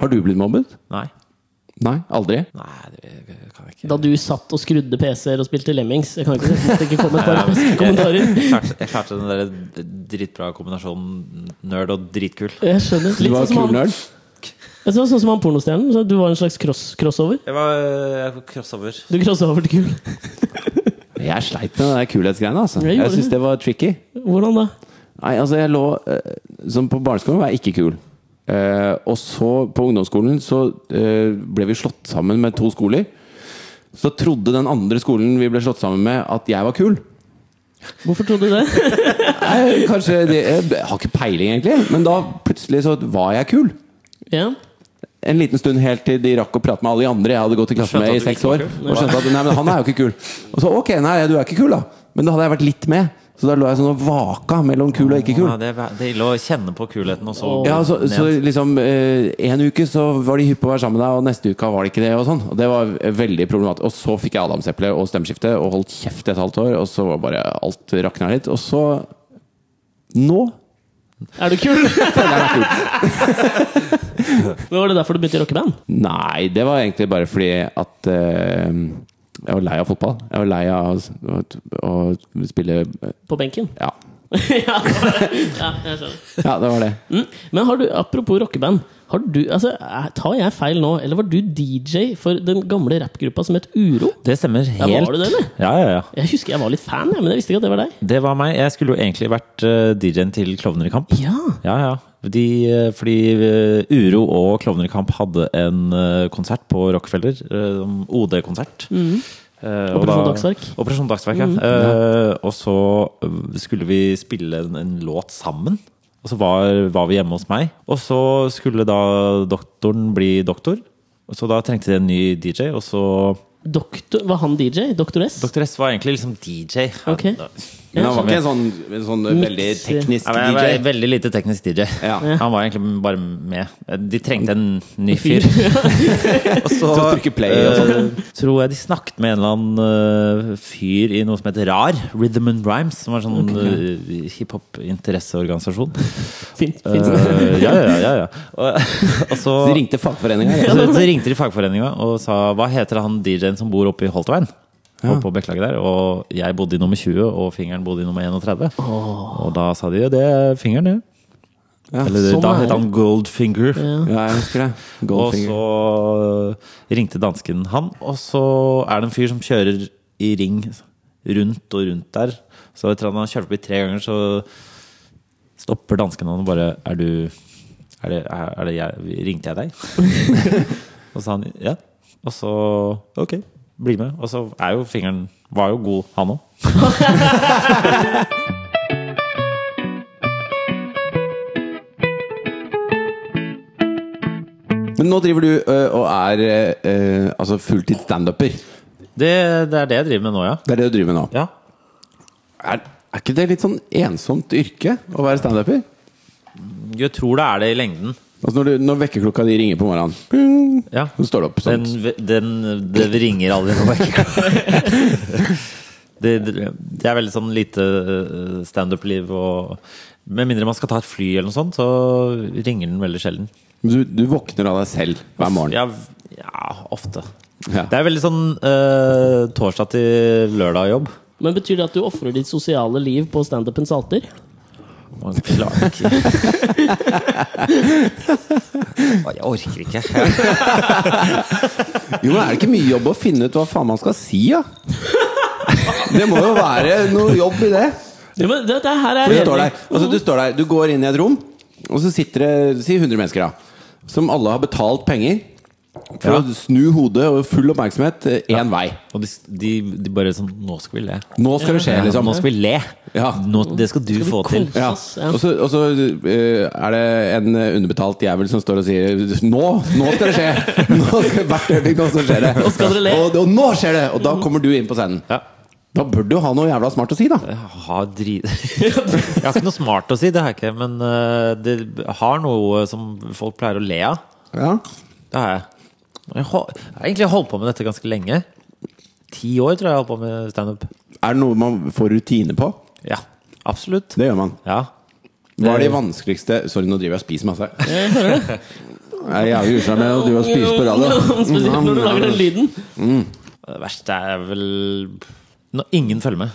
Speaker 2: Har du blitt mobbet?
Speaker 1: Nei.
Speaker 2: Nei, aldri.
Speaker 1: Nei, det kan jeg ikke.
Speaker 3: Da du satt og skrudde PC-er og spilte Lemmings Jeg kan ikke se at det ikke kom
Speaker 2: <laughs>
Speaker 3: et par kommentarer.
Speaker 1: Jeg klarte, jeg klarte den der dritbra kombinasjonen nerd og dritkul.
Speaker 3: Jeg skjønner.
Speaker 2: Du
Speaker 3: Litt
Speaker 2: var
Speaker 3: sånn som
Speaker 2: kul
Speaker 3: han,
Speaker 2: nerd.
Speaker 3: Jeg så sånn som han pornostjernen. så Du var en slags cross crossover.
Speaker 1: Jeg var jeg crossover.
Speaker 3: Du crossa over til kul.
Speaker 2: Jeg sleit med den der kulhetsgreiene. Altså.
Speaker 3: Jeg gjorde
Speaker 2: Jeg syns det var tricky.
Speaker 3: Hvordan da?
Speaker 2: Nei, altså jeg lå eh, Som på barneskolen var jeg ikke kul. Eh, og så på ungdomsskolen så eh, ble vi slått sammen med to skoler. Så trodde den andre skolen vi ble slått sammen med, at jeg var kul.
Speaker 3: Hvorfor trodde du det? <laughs>
Speaker 2: Nei, kanskje det, Jeg har ikke peiling, egentlig. Men da plutselig så var jeg kul.
Speaker 3: Ja.
Speaker 2: En liten stund helt til de rakk å prate med alle de andre jeg hadde gått i klasse
Speaker 1: Skjønte
Speaker 2: med
Speaker 1: at
Speaker 2: i
Speaker 1: du
Speaker 2: seks
Speaker 1: ikke var
Speaker 2: år.
Speaker 1: kul.
Speaker 2: Og skjønte at nei, men han er jo ikke kul. Og så ok, nei, du er ikke kul, da. Men da hadde jeg vært litt med. Så da lå jeg sånn og vaka mellom kul og ikke kul.
Speaker 1: Ja, det, er- det er ille å kjenne på kulheten, og så
Speaker 2: Ja, så, så
Speaker 1: ned.
Speaker 2: liksom eh, En uke så var de hypp på å være sammen med deg, og neste uka var de ikke det. Og sånn Og det var veldig problematisk. Og så fikk jeg adamseplet og stemmeskifte og holdt kjeft i et halvt år, og så var bare alt rakna litt. Og så Nå
Speaker 3: Er du kul? <laughs>
Speaker 2: Den er kul.
Speaker 3: Men Var det derfor du begynte i rockeband?
Speaker 2: Nei, det var egentlig bare fordi at eh, jeg var lei av fotball. Jeg var lei av å, å, å spille
Speaker 3: På benken? <laughs>
Speaker 2: ja.
Speaker 3: ja, ja, jeg skjønner.
Speaker 2: ja, det var det.
Speaker 3: Mm. Men har du, apropos rockeband har du, altså, eh, Tar jeg feil nå, eller var du DJ for den gamle rappgruppa som het Uro?
Speaker 1: Det stemmer helt.
Speaker 3: var du det, eller?
Speaker 1: Ja, ja, ja.
Speaker 3: Jeg husker jeg var litt fan, jeg, men jeg visste ikke at det var deg.
Speaker 1: Det var meg. Jeg skulle jo egentlig vært eh, DJ-en til Klovner i kamp.
Speaker 3: Ja,
Speaker 1: Ja, ja. De, eh, fordi eh, Uro og Klovner i kamp hadde en eh, konsert på Rockefeller. eh, om OD-konsert. Eh, og
Speaker 3: Mm. Operasjon
Speaker 1: da-
Speaker 3: Dagsverk. Mm.
Speaker 1: Operasjon Dagsverk, ja. Eh, og så eh, skulle vi spille en, en låt sammen. Og så var, var vi hjemme hos meg. Og så skulle da doktoren bli doktor. Og så da trengte de en ny DJ, og så
Speaker 3: Doktor, Var han DJ? Doktor S?
Speaker 1: Doktor S var egentlig liksom DJ.
Speaker 3: Ok.
Speaker 1: Ja,
Speaker 2: Men han var ikke en sånn, en sånn veldig
Speaker 3: Mix.
Speaker 2: teknisk
Speaker 1: Ja, men jeg var
Speaker 2: DJ.
Speaker 1: veldig lite teknisk DJ.
Speaker 2: Ja.
Speaker 1: <laughs> Han var egentlig bare med. De trengte en ny fyr. <laughs> og så
Speaker 2: Til å trykke play og sånn.
Speaker 1: eh, tror jeg de snakket med en eller annen eh, fyr i noe som heter RAR, Rhythm and Rhymes, som var en sånn eh, hiphop-interesseorganisasjon.
Speaker 3: Fint,
Speaker 1: Eh,
Speaker 3: fint.
Speaker 1: ja, ja, ja, ja. Og, <laughs> og så,
Speaker 2: Så de ringte altså. fagforeninga.
Speaker 1: så, så ringte de fagforeninga og sa hva heter han DJ-en som bor oppe i Holtveien? Oppe på Bekkelaget der, Og jeg bodde i nummer 20, og fingeren bodde i nummer 31. Og da sa de ja, det er fingeren, det.
Speaker 2: Ja,
Speaker 1: Eller
Speaker 3: sånn
Speaker 1: da
Speaker 3: er
Speaker 1: het
Speaker 3: det.
Speaker 1: han Goldfinger.
Speaker 2: Ja, jeg husker det.
Speaker 1: Og
Speaker 2: Goldfinger.
Speaker 1: så ringte dansken han, og så er det en fyr som kjører i ring rundt og rundt der. Så etter at han har kjørt forbi tre ganger, så stopper dansken han og bare Er du Er det, er er det jeg Ringte jeg deg? <laughs> og så sa han ja. Og så Ok, bli med. Og så er jo fingeren Var jo god, han òg.
Speaker 2: Men nå driver du ø, og er ø, ø, altså fulltids standuper.
Speaker 1: Det, det er det jeg driver med nå, ja.
Speaker 2: Det er det du driver med nå.
Speaker 1: ja.
Speaker 2: Er, er ikke det litt sånn ensomt yrke å være standuper?
Speaker 1: Jeg tror det er det i lengden.
Speaker 2: Altså når, du- når vekkerklokka di ringer på morgenen, pling,
Speaker 1: Ja.
Speaker 2: så står du opp.
Speaker 1: Den,
Speaker 2: Sånn.
Speaker 1: den, det ringer aldri noe vekk. <laughs> Det, det er veldig sånn lite eh, standup-liv og Med mindre man skal ta et fly eller noe sånt, så ringer den veldig sjelden.
Speaker 2: Du, du våkner av deg selv hver morgen.
Speaker 1: Ja, ja ofte.
Speaker 2: Ja.
Speaker 1: Det er veldig sånn eh, torsdag til lørdag-jobb.
Speaker 3: <laughs> Men betyr det at du ofrer ditt sosiale liv på standupens alter?
Speaker 1: Man klarer ikke Nei, Jeg orker ikke. Jeg,
Speaker 2: Jo, men er det ikke mye jobb å finne ut hva faen man skal si,
Speaker 1: <laughs>
Speaker 2: da? Det må jo være noe jobb i det.
Speaker 3: Ja, men det, det
Speaker 2: For
Speaker 3: her er
Speaker 2: du står der, altså, du står der, du går inn i et rom, og så sitter det si 100 mennesker, da. Som alle har betalt penger for
Speaker 1: Ja.
Speaker 2: å snu hodet og full oppmerksomhet eh, én vei.
Speaker 1: og de, de, de bare sånn Nå skal vi le.
Speaker 2: Nå skal det skje, liksom.
Speaker 1: Nå skal vi le.
Speaker 2: Ja.
Speaker 1: Nå, det skal du
Speaker 3: Skal vi
Speaker 1: få til.
Speaker 3: kose
Speaker 2: Ja.
Speaker 3: oss, ja.
Speaker 2: Og så, og så eh, er det en eh, underbetalt jævel som står og sier Nå! Nå skal det skje! <laughs> Nå skal, hvert øyeblikk nå så skjer det.
Speaker 3: Nå skal dere le.
Speaker 2: Og, og nå skjer det! Og da kommer du inn på scenen.
Speaker 1: Ja.
Speaker 2: Da bør du ha noe jævla smart å si, da.
Speaker 1: Jeg har dri... <laughs> Jeg har ikke noe smart å si, det har jeg ikke. Men eh, det har noe eh, som folk pleier å le av.
Speaker 2: Ja.
Speaker 1: Det har jeg. Jeg har jeg har egentlig holdt på med dette ganske lenge. Ti år tror jeg jeg har holdt på med standup.
Speaker 2: Er det noe man får rutine på?
Speaker 1: Ja, absolutt.
Speaker 2: Det gjør man.
Speaker 1: Ja.
Speaker 2: Hva er de vanskeligste Sorry, nå driver jeg og spiser masse. Jeg <laughs> er jævlig usjarmerende, og du har spist på
Speaker 1: Mm.
Speaker 2: Mm.
Speaker 3: <laughs> Spesielt når du lager den
Speaker 2: radio.
Speaker 3: lyden.
Speaker 1: Det verste er vel når ingen følger med.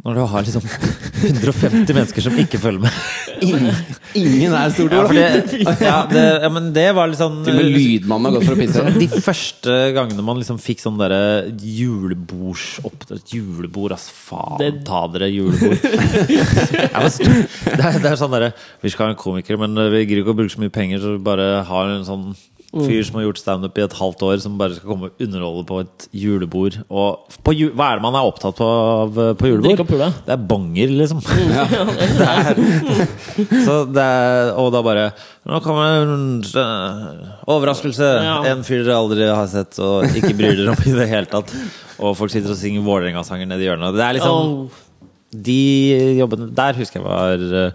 Speaker 1: Når du har liksom <laughs> 150 mennesker som ikke følger med.
Speaker 2: Ingen, ingen er stort
Speaker 1: Ja, for
Speaker 2: ord, da.
Speaker 1: det, ja, det, ja men det var litt sånn
Speaker 2: Til og med lydmannen har gått for å pisse.
Speaker 1: Altså,
Speaker 3: <laughs>
Speaker 1: De første gangene man liksom fikk sånn derre julebordsoppdrag Julebord, ass faen
Speaker 3: Det-
Speaker 1: ta dere julebord.
Speaker 3: <laughs>
Speaker 1: Jeg var stor- det, er, det er sånn derre Vi skal ha en komiker, men eh, vi gidder ikke å bruke så mye penger, så vi bare har en sånn
Speaker 3: Mm.
Speaker 1: fyr som har gjort standup i et halvt år, som bare skal komme og underholde på et julebord. Og på ju hva er det man er opptatt av eh, på
Speaker 3: Drikke
Speaker 1: julebord?
Speaker 3: opp pula. Mm.
Speaker 1: Det er bonger, liksom. <laughs> Så det er, og da bare Nå kommer det en øh, overraskelse!
Speaker 3: Ja.
Speaker 1: En fyr dere aldri har sett og ikke bryr dere om i det hele tatt. Og folk sitter og synger Vålerenga-sanger nedi hjørnet. Det er liksom
Speaker 3: Åh.
Speaker 1: De jobbene der husker jeg var øh,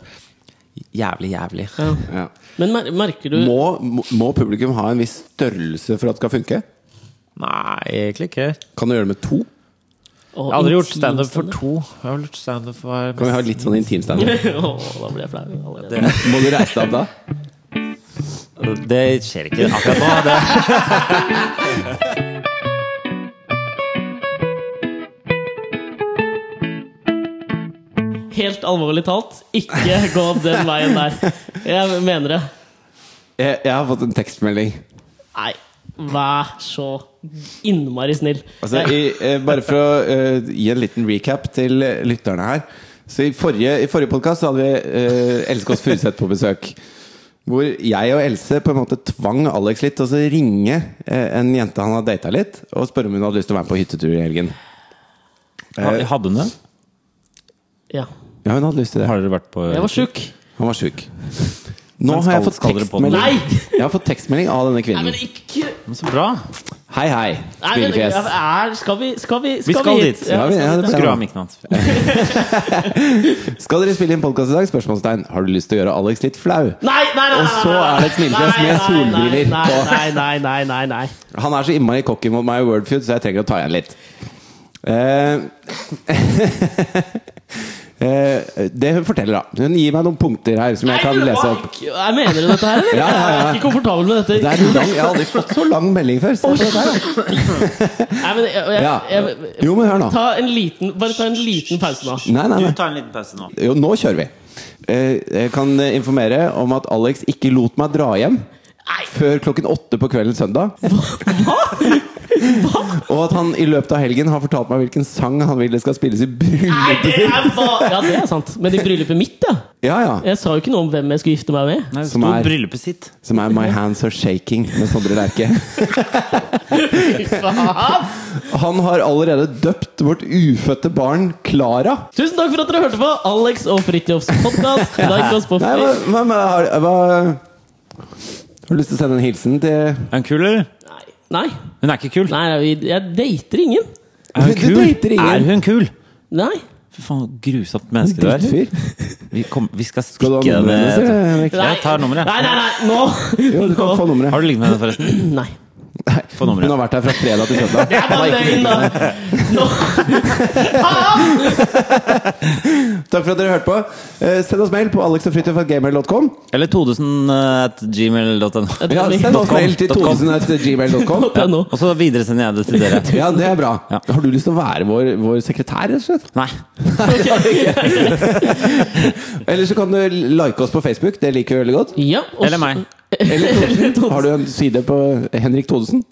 Speaker 1: jævlig, jævlig.
Speaker 3: Ja.
Speaker 2: <laughs> Ja.
Speaker 3: Men mer, merker du
Speaker 2: Må, må- må publikum ha en viss størrelse for at det skal funke?
Speaker 1: Nei, egentlig ikke.
Speaker 2: Kan du gjøre det med to?
Speaker 3: Og
Speaker 1: Jeg har aldri gjort
Speaker 3: intim
Speaker 1: standup for
Speaker 3: standup.
Speaker 1: to. Jeg har gjort standup for hver
Speaker 2: Kan vi ha litt sånn intim standup?
Speaker 3: <laughs> Åh, da blir jeg flau allerede.
Speaker 2: Må du reise deg opp da?
Speaker 1: Det skjer ikke akkurat nå. Det. <laughs>
Speaker 3: Helt alvorlig talt, ikke gå den veien der. Jeg mener det.
Speaker 2: Jeg, jeg har fått en tekstmelding.
Speaker 3: Nei, vær så innmari snill.
Speaker 2: Altså,
Speaker 3: Jeg-
Speaker 2: i, eh, bare for å eh, gi en liten recap til eh, lytterne her. Så I forrige, i forrige podkast hadde vi eh, Else Kåss Furuseth på besøk. Hvor jeg og Else på en måte tvang Alex litt til å så ringe eh, en jente han hadde data litt, og spørre om hun hadde lyst til å være med på hyttetur i helgen. Eh,
Speaker 1: Ha- Eh, Hadde hun det?
Speaker 3: ja.
Speaker 2: Ja, hun hadde lyst til det.
Speaker 1: Har dere vært på
Speaker 3: Jeg var sjuk.
Speaker 2: Han var sjuk.
Speaker 1: Men
Speaker 2: Nå har jeg
Speaker 1: skal-
Speaker 2: fått
Speaker 1: skal dere på den?
Speaker 2: tekstmelding
Speaker 3: Nei!
Speaker 2: Jeg har fått tekstmelding av denne
Speaker 3: Nei, men
Speaker 2: kvinnen.
Speaker 3: ikke
Speaker 1: Men Så bra!
Speaker 2: Hei, hei,
Speaker 3: Nei, men,
Speaker 2: spillefjes.
Speaker 3: er, skal vi Skal vi,
Speaker 1: Vi skal
Speaker 3: hit?
Speaker 1: dit.
Speaker 2: Ja, vi- ja, det
Speaker 1: Skru
Speaker 2: blir
Speaker 1: av
Speaker 2: bra.
Speaker 1: mikken hans.
Speaker 2: Skal dere spille inn podkast i dag? Spørsmålstegn. Har du lyst til å gjøre Alex litt flau?
Speaker 3: Nei, nei, nei!
Speaker 2: Og så er det et smilefjes med solbriller
Speaker 3: Nei,
Speaker 2: på.
Speaker 3: nei, nei, nei, nei, nei.
Speaker 2: Han er så innmari cocky mot meg i Wordfeud, så jeg trenger å ta igjen litt. Eh, <laughs> eh, det hun forteller, da. Hun gir meg noen punkter her som jeg kan
Speaker 3: Nei,
Speaker 2: lese
Speaker 3: hva-
Speaker 2: opp.
Speaker 3: Jeg mener du dette her, eller?
Speaker 2: Ja, ja, ja.
Speaker 3: Jeg er ikke komfortabel med
Speaker 2: Det
Speaker 3: dette.
Speaker 2: er lang, jeg har aldri fått så lang melding før. Se på dette her, da.
Speaker 3: Nei, men jeg,
Speaker 2: Ja.
Speaker 3: jeg, jeg,
Speaker 2: Jo, men hør nå.
Speaker 3: ta en liten, bare ta en liten pause nå.
Speaker 2: Nei, nei, nei.
Speaker 1: tar en liten pause nå.
Speaker 2: Jo, nå kjører vi. Eh, Jeg kan eh, informere om at Alex ikke lot meg dra hjem før klokken åtte på kvelden søndag. Og at han i løpet av helgen har fortalt meg hvilken sang han vil det skal spilles i
Speaker 3: Nei,
Speaker 2: bryllupet.
Speaker 3: det er bare Ja, det er sant. Men i bryllupet mitt, ja.
Speaker 2: Ja, ja.
Speaker 3: Jeg sa jo ikke noe om hvem jeg skulle gifte meg med.
Speaker 1: Nei, det
Speaker 2: Som
Speaker 1: sto
Speaker 2: er-
Speaker 1: bryllupet sitt.
Speaker 2: Som er My Hands Are Shaking med Sondre Lerche.
Speaker 3: Faen!
Speaker 2: Han har allerede døpt vårt ufødte barn Klara.
Speaker 3: Tusen takk for at dere hørte på Alex og Fridtjofs podkast. Like oss på
Speaker 2: Nei, hva,
Speaker 3: Facebook.
Speaker 2: hva, hva, har, hva Har du lyst til å sende en hilsen til
Speaker 1: Er hun kul, eller?
Speaker 3: Nei. Nei.
Speaker 1: Hun er ikke kul.
Speaker 3: Nei, jeg, jeg dater ingen.
Speaker 1: Er hun
Speaker 2: Du
Speaker 1: kul?
Speaker 2: dater ingen.
Speaker 1: Er hun kul?
Speaker 3: Nei.
Speaker 1: Fy faen, grusomt menneske du er.
Speaker 2: drittfyr?
Speaker 1: Vi, kom, vi skal
Speaker 2: Skal du
Speaker 1: stikke
Speaker 2: ha
Speaker 1: deg
Speaker 2: nummeret hennes,
Speaker 1: ned.
Speaker 2: eller, Henrik?
Speaker 1: Jeg tar nummeret.
Speaker 3: Nei, nei, nei, nå! <clears throat>
Speaker 2: Jo, du kan få nummeret.
Speaker 1: Har du ligget med henne,
Speaker 2: <clears throat>
Speaker 1: forresten?
Speaker 3: Nei.
Speaker 2: Nei,
Speaker 1: Få nummeret.
Speaker 2: Hun har vært her fra fredag til søndag.
Speaker 3: Det er bare løgn, da! Nå. Ah!
Speaker 2: <laughs> Takk for at dere hørte på. Eh, send oss mail på alexogfritjofgamer.com.
Speaker 1: Eller todesen eh, at gmail.no.
Speaker 2: Ja, send oss mail til
Speaker 1: .com.
Speaker 2: <laughs> todesen.gmail.com.
Speaker 3: Nå. Nå.
Speaker 1: Og så videresender jeg det til
Speaker 2: <laughs>
Speaker 1: dere.
Speaker 2: Ja, det er bra.
Speaker 1: Ja.
Speaker 2: Har du lyst til å være vår, vår sekretær, rett og <laughs> slett?
Speaker 1: Nei.
Speaker 2: Eller så kan du like oss på Facebook. Det liker vi veldig godt.
Speaker 3: Ja, og
Speaker 1: Eller meg,
Speaker 2: <laughs> Eller Todesen.
Speaker 3: Todesen.
Speaker 2: Har du en side på Henrik Todesen?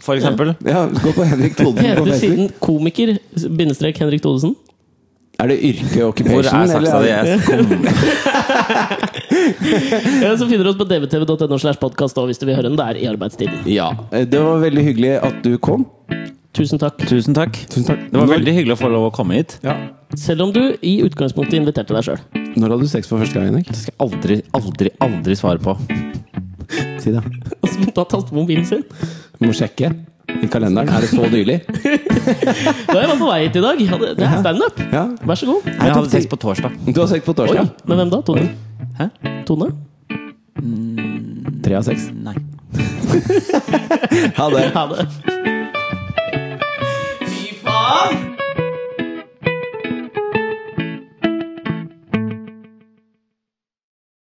Speaker 1: for eksempel.
Speaker 2: Ja, gå på <laughs> Henrik Todesen på
Speaker 3: Heter
Speaker 2: Facebook.
Speaker 3: siden komiker bindestrek Henrik Thodesen?
Speaker 2: Er det yrke
Speaker 1: Hvor
Speaker 2: occupation?
Speaker 1: er
Speaker 2: eller
Speaker 1: saksa
Speaker 2: <laughs>
Speaker 1: di?
Speaker 2: er
Speaker 1: Jeg
Speaker 2: det-
Speaker 1: kom
Speaker 3: Eller så finner du oss på dvtv.no slash podcast da, hvis du vil høre den der i arbeidstiden.
Speaker 2: Ja. eh, Det var veldig hyggelig at du kom.
Speaker 3: Tusen takk.
Speaker 1: Tusen takk.
Speaker 2: Tusen takk.
Speaker 1: Det var veldig hyggelig å få lov å komme hit.
Speaker 2: Ja.
Speaker 3: Selv om du i utgangspunktet inviterte deg sjøl.
Speaker 2: Når hadde du sex for første gang, Henrik?
Speaker 1: Det skal jeg aldri, aldri, aldri svare på.
Speaker 2: Si det.
Speaker 3: <laughs> Og så begynte han å taste på mobilen sin.
Speaker 2: Du må sjekke i kalenderen. Er det så nylig?
Speaker 3: Da jeg var på vei hit i dag. Hadde- Det er standup.
Speaker 2: Ja.
Speaker 3: Vær så god.
Speaker 1: Men jeg hadde sex på torsdag.
Speaker 2: Du har sex på
Speaker 3: Oi,
Speaker 2: torsdag?
Speaker 3: men hvem da? Tone?
Speaker 1: Hæ?
Speaker 3: Tone?
Speaker 2: Tre av seks. <laughs>
Speaker 1: Nei.
Speaker 2: Ha det.
Speaker 3: Ha det. Fy faen!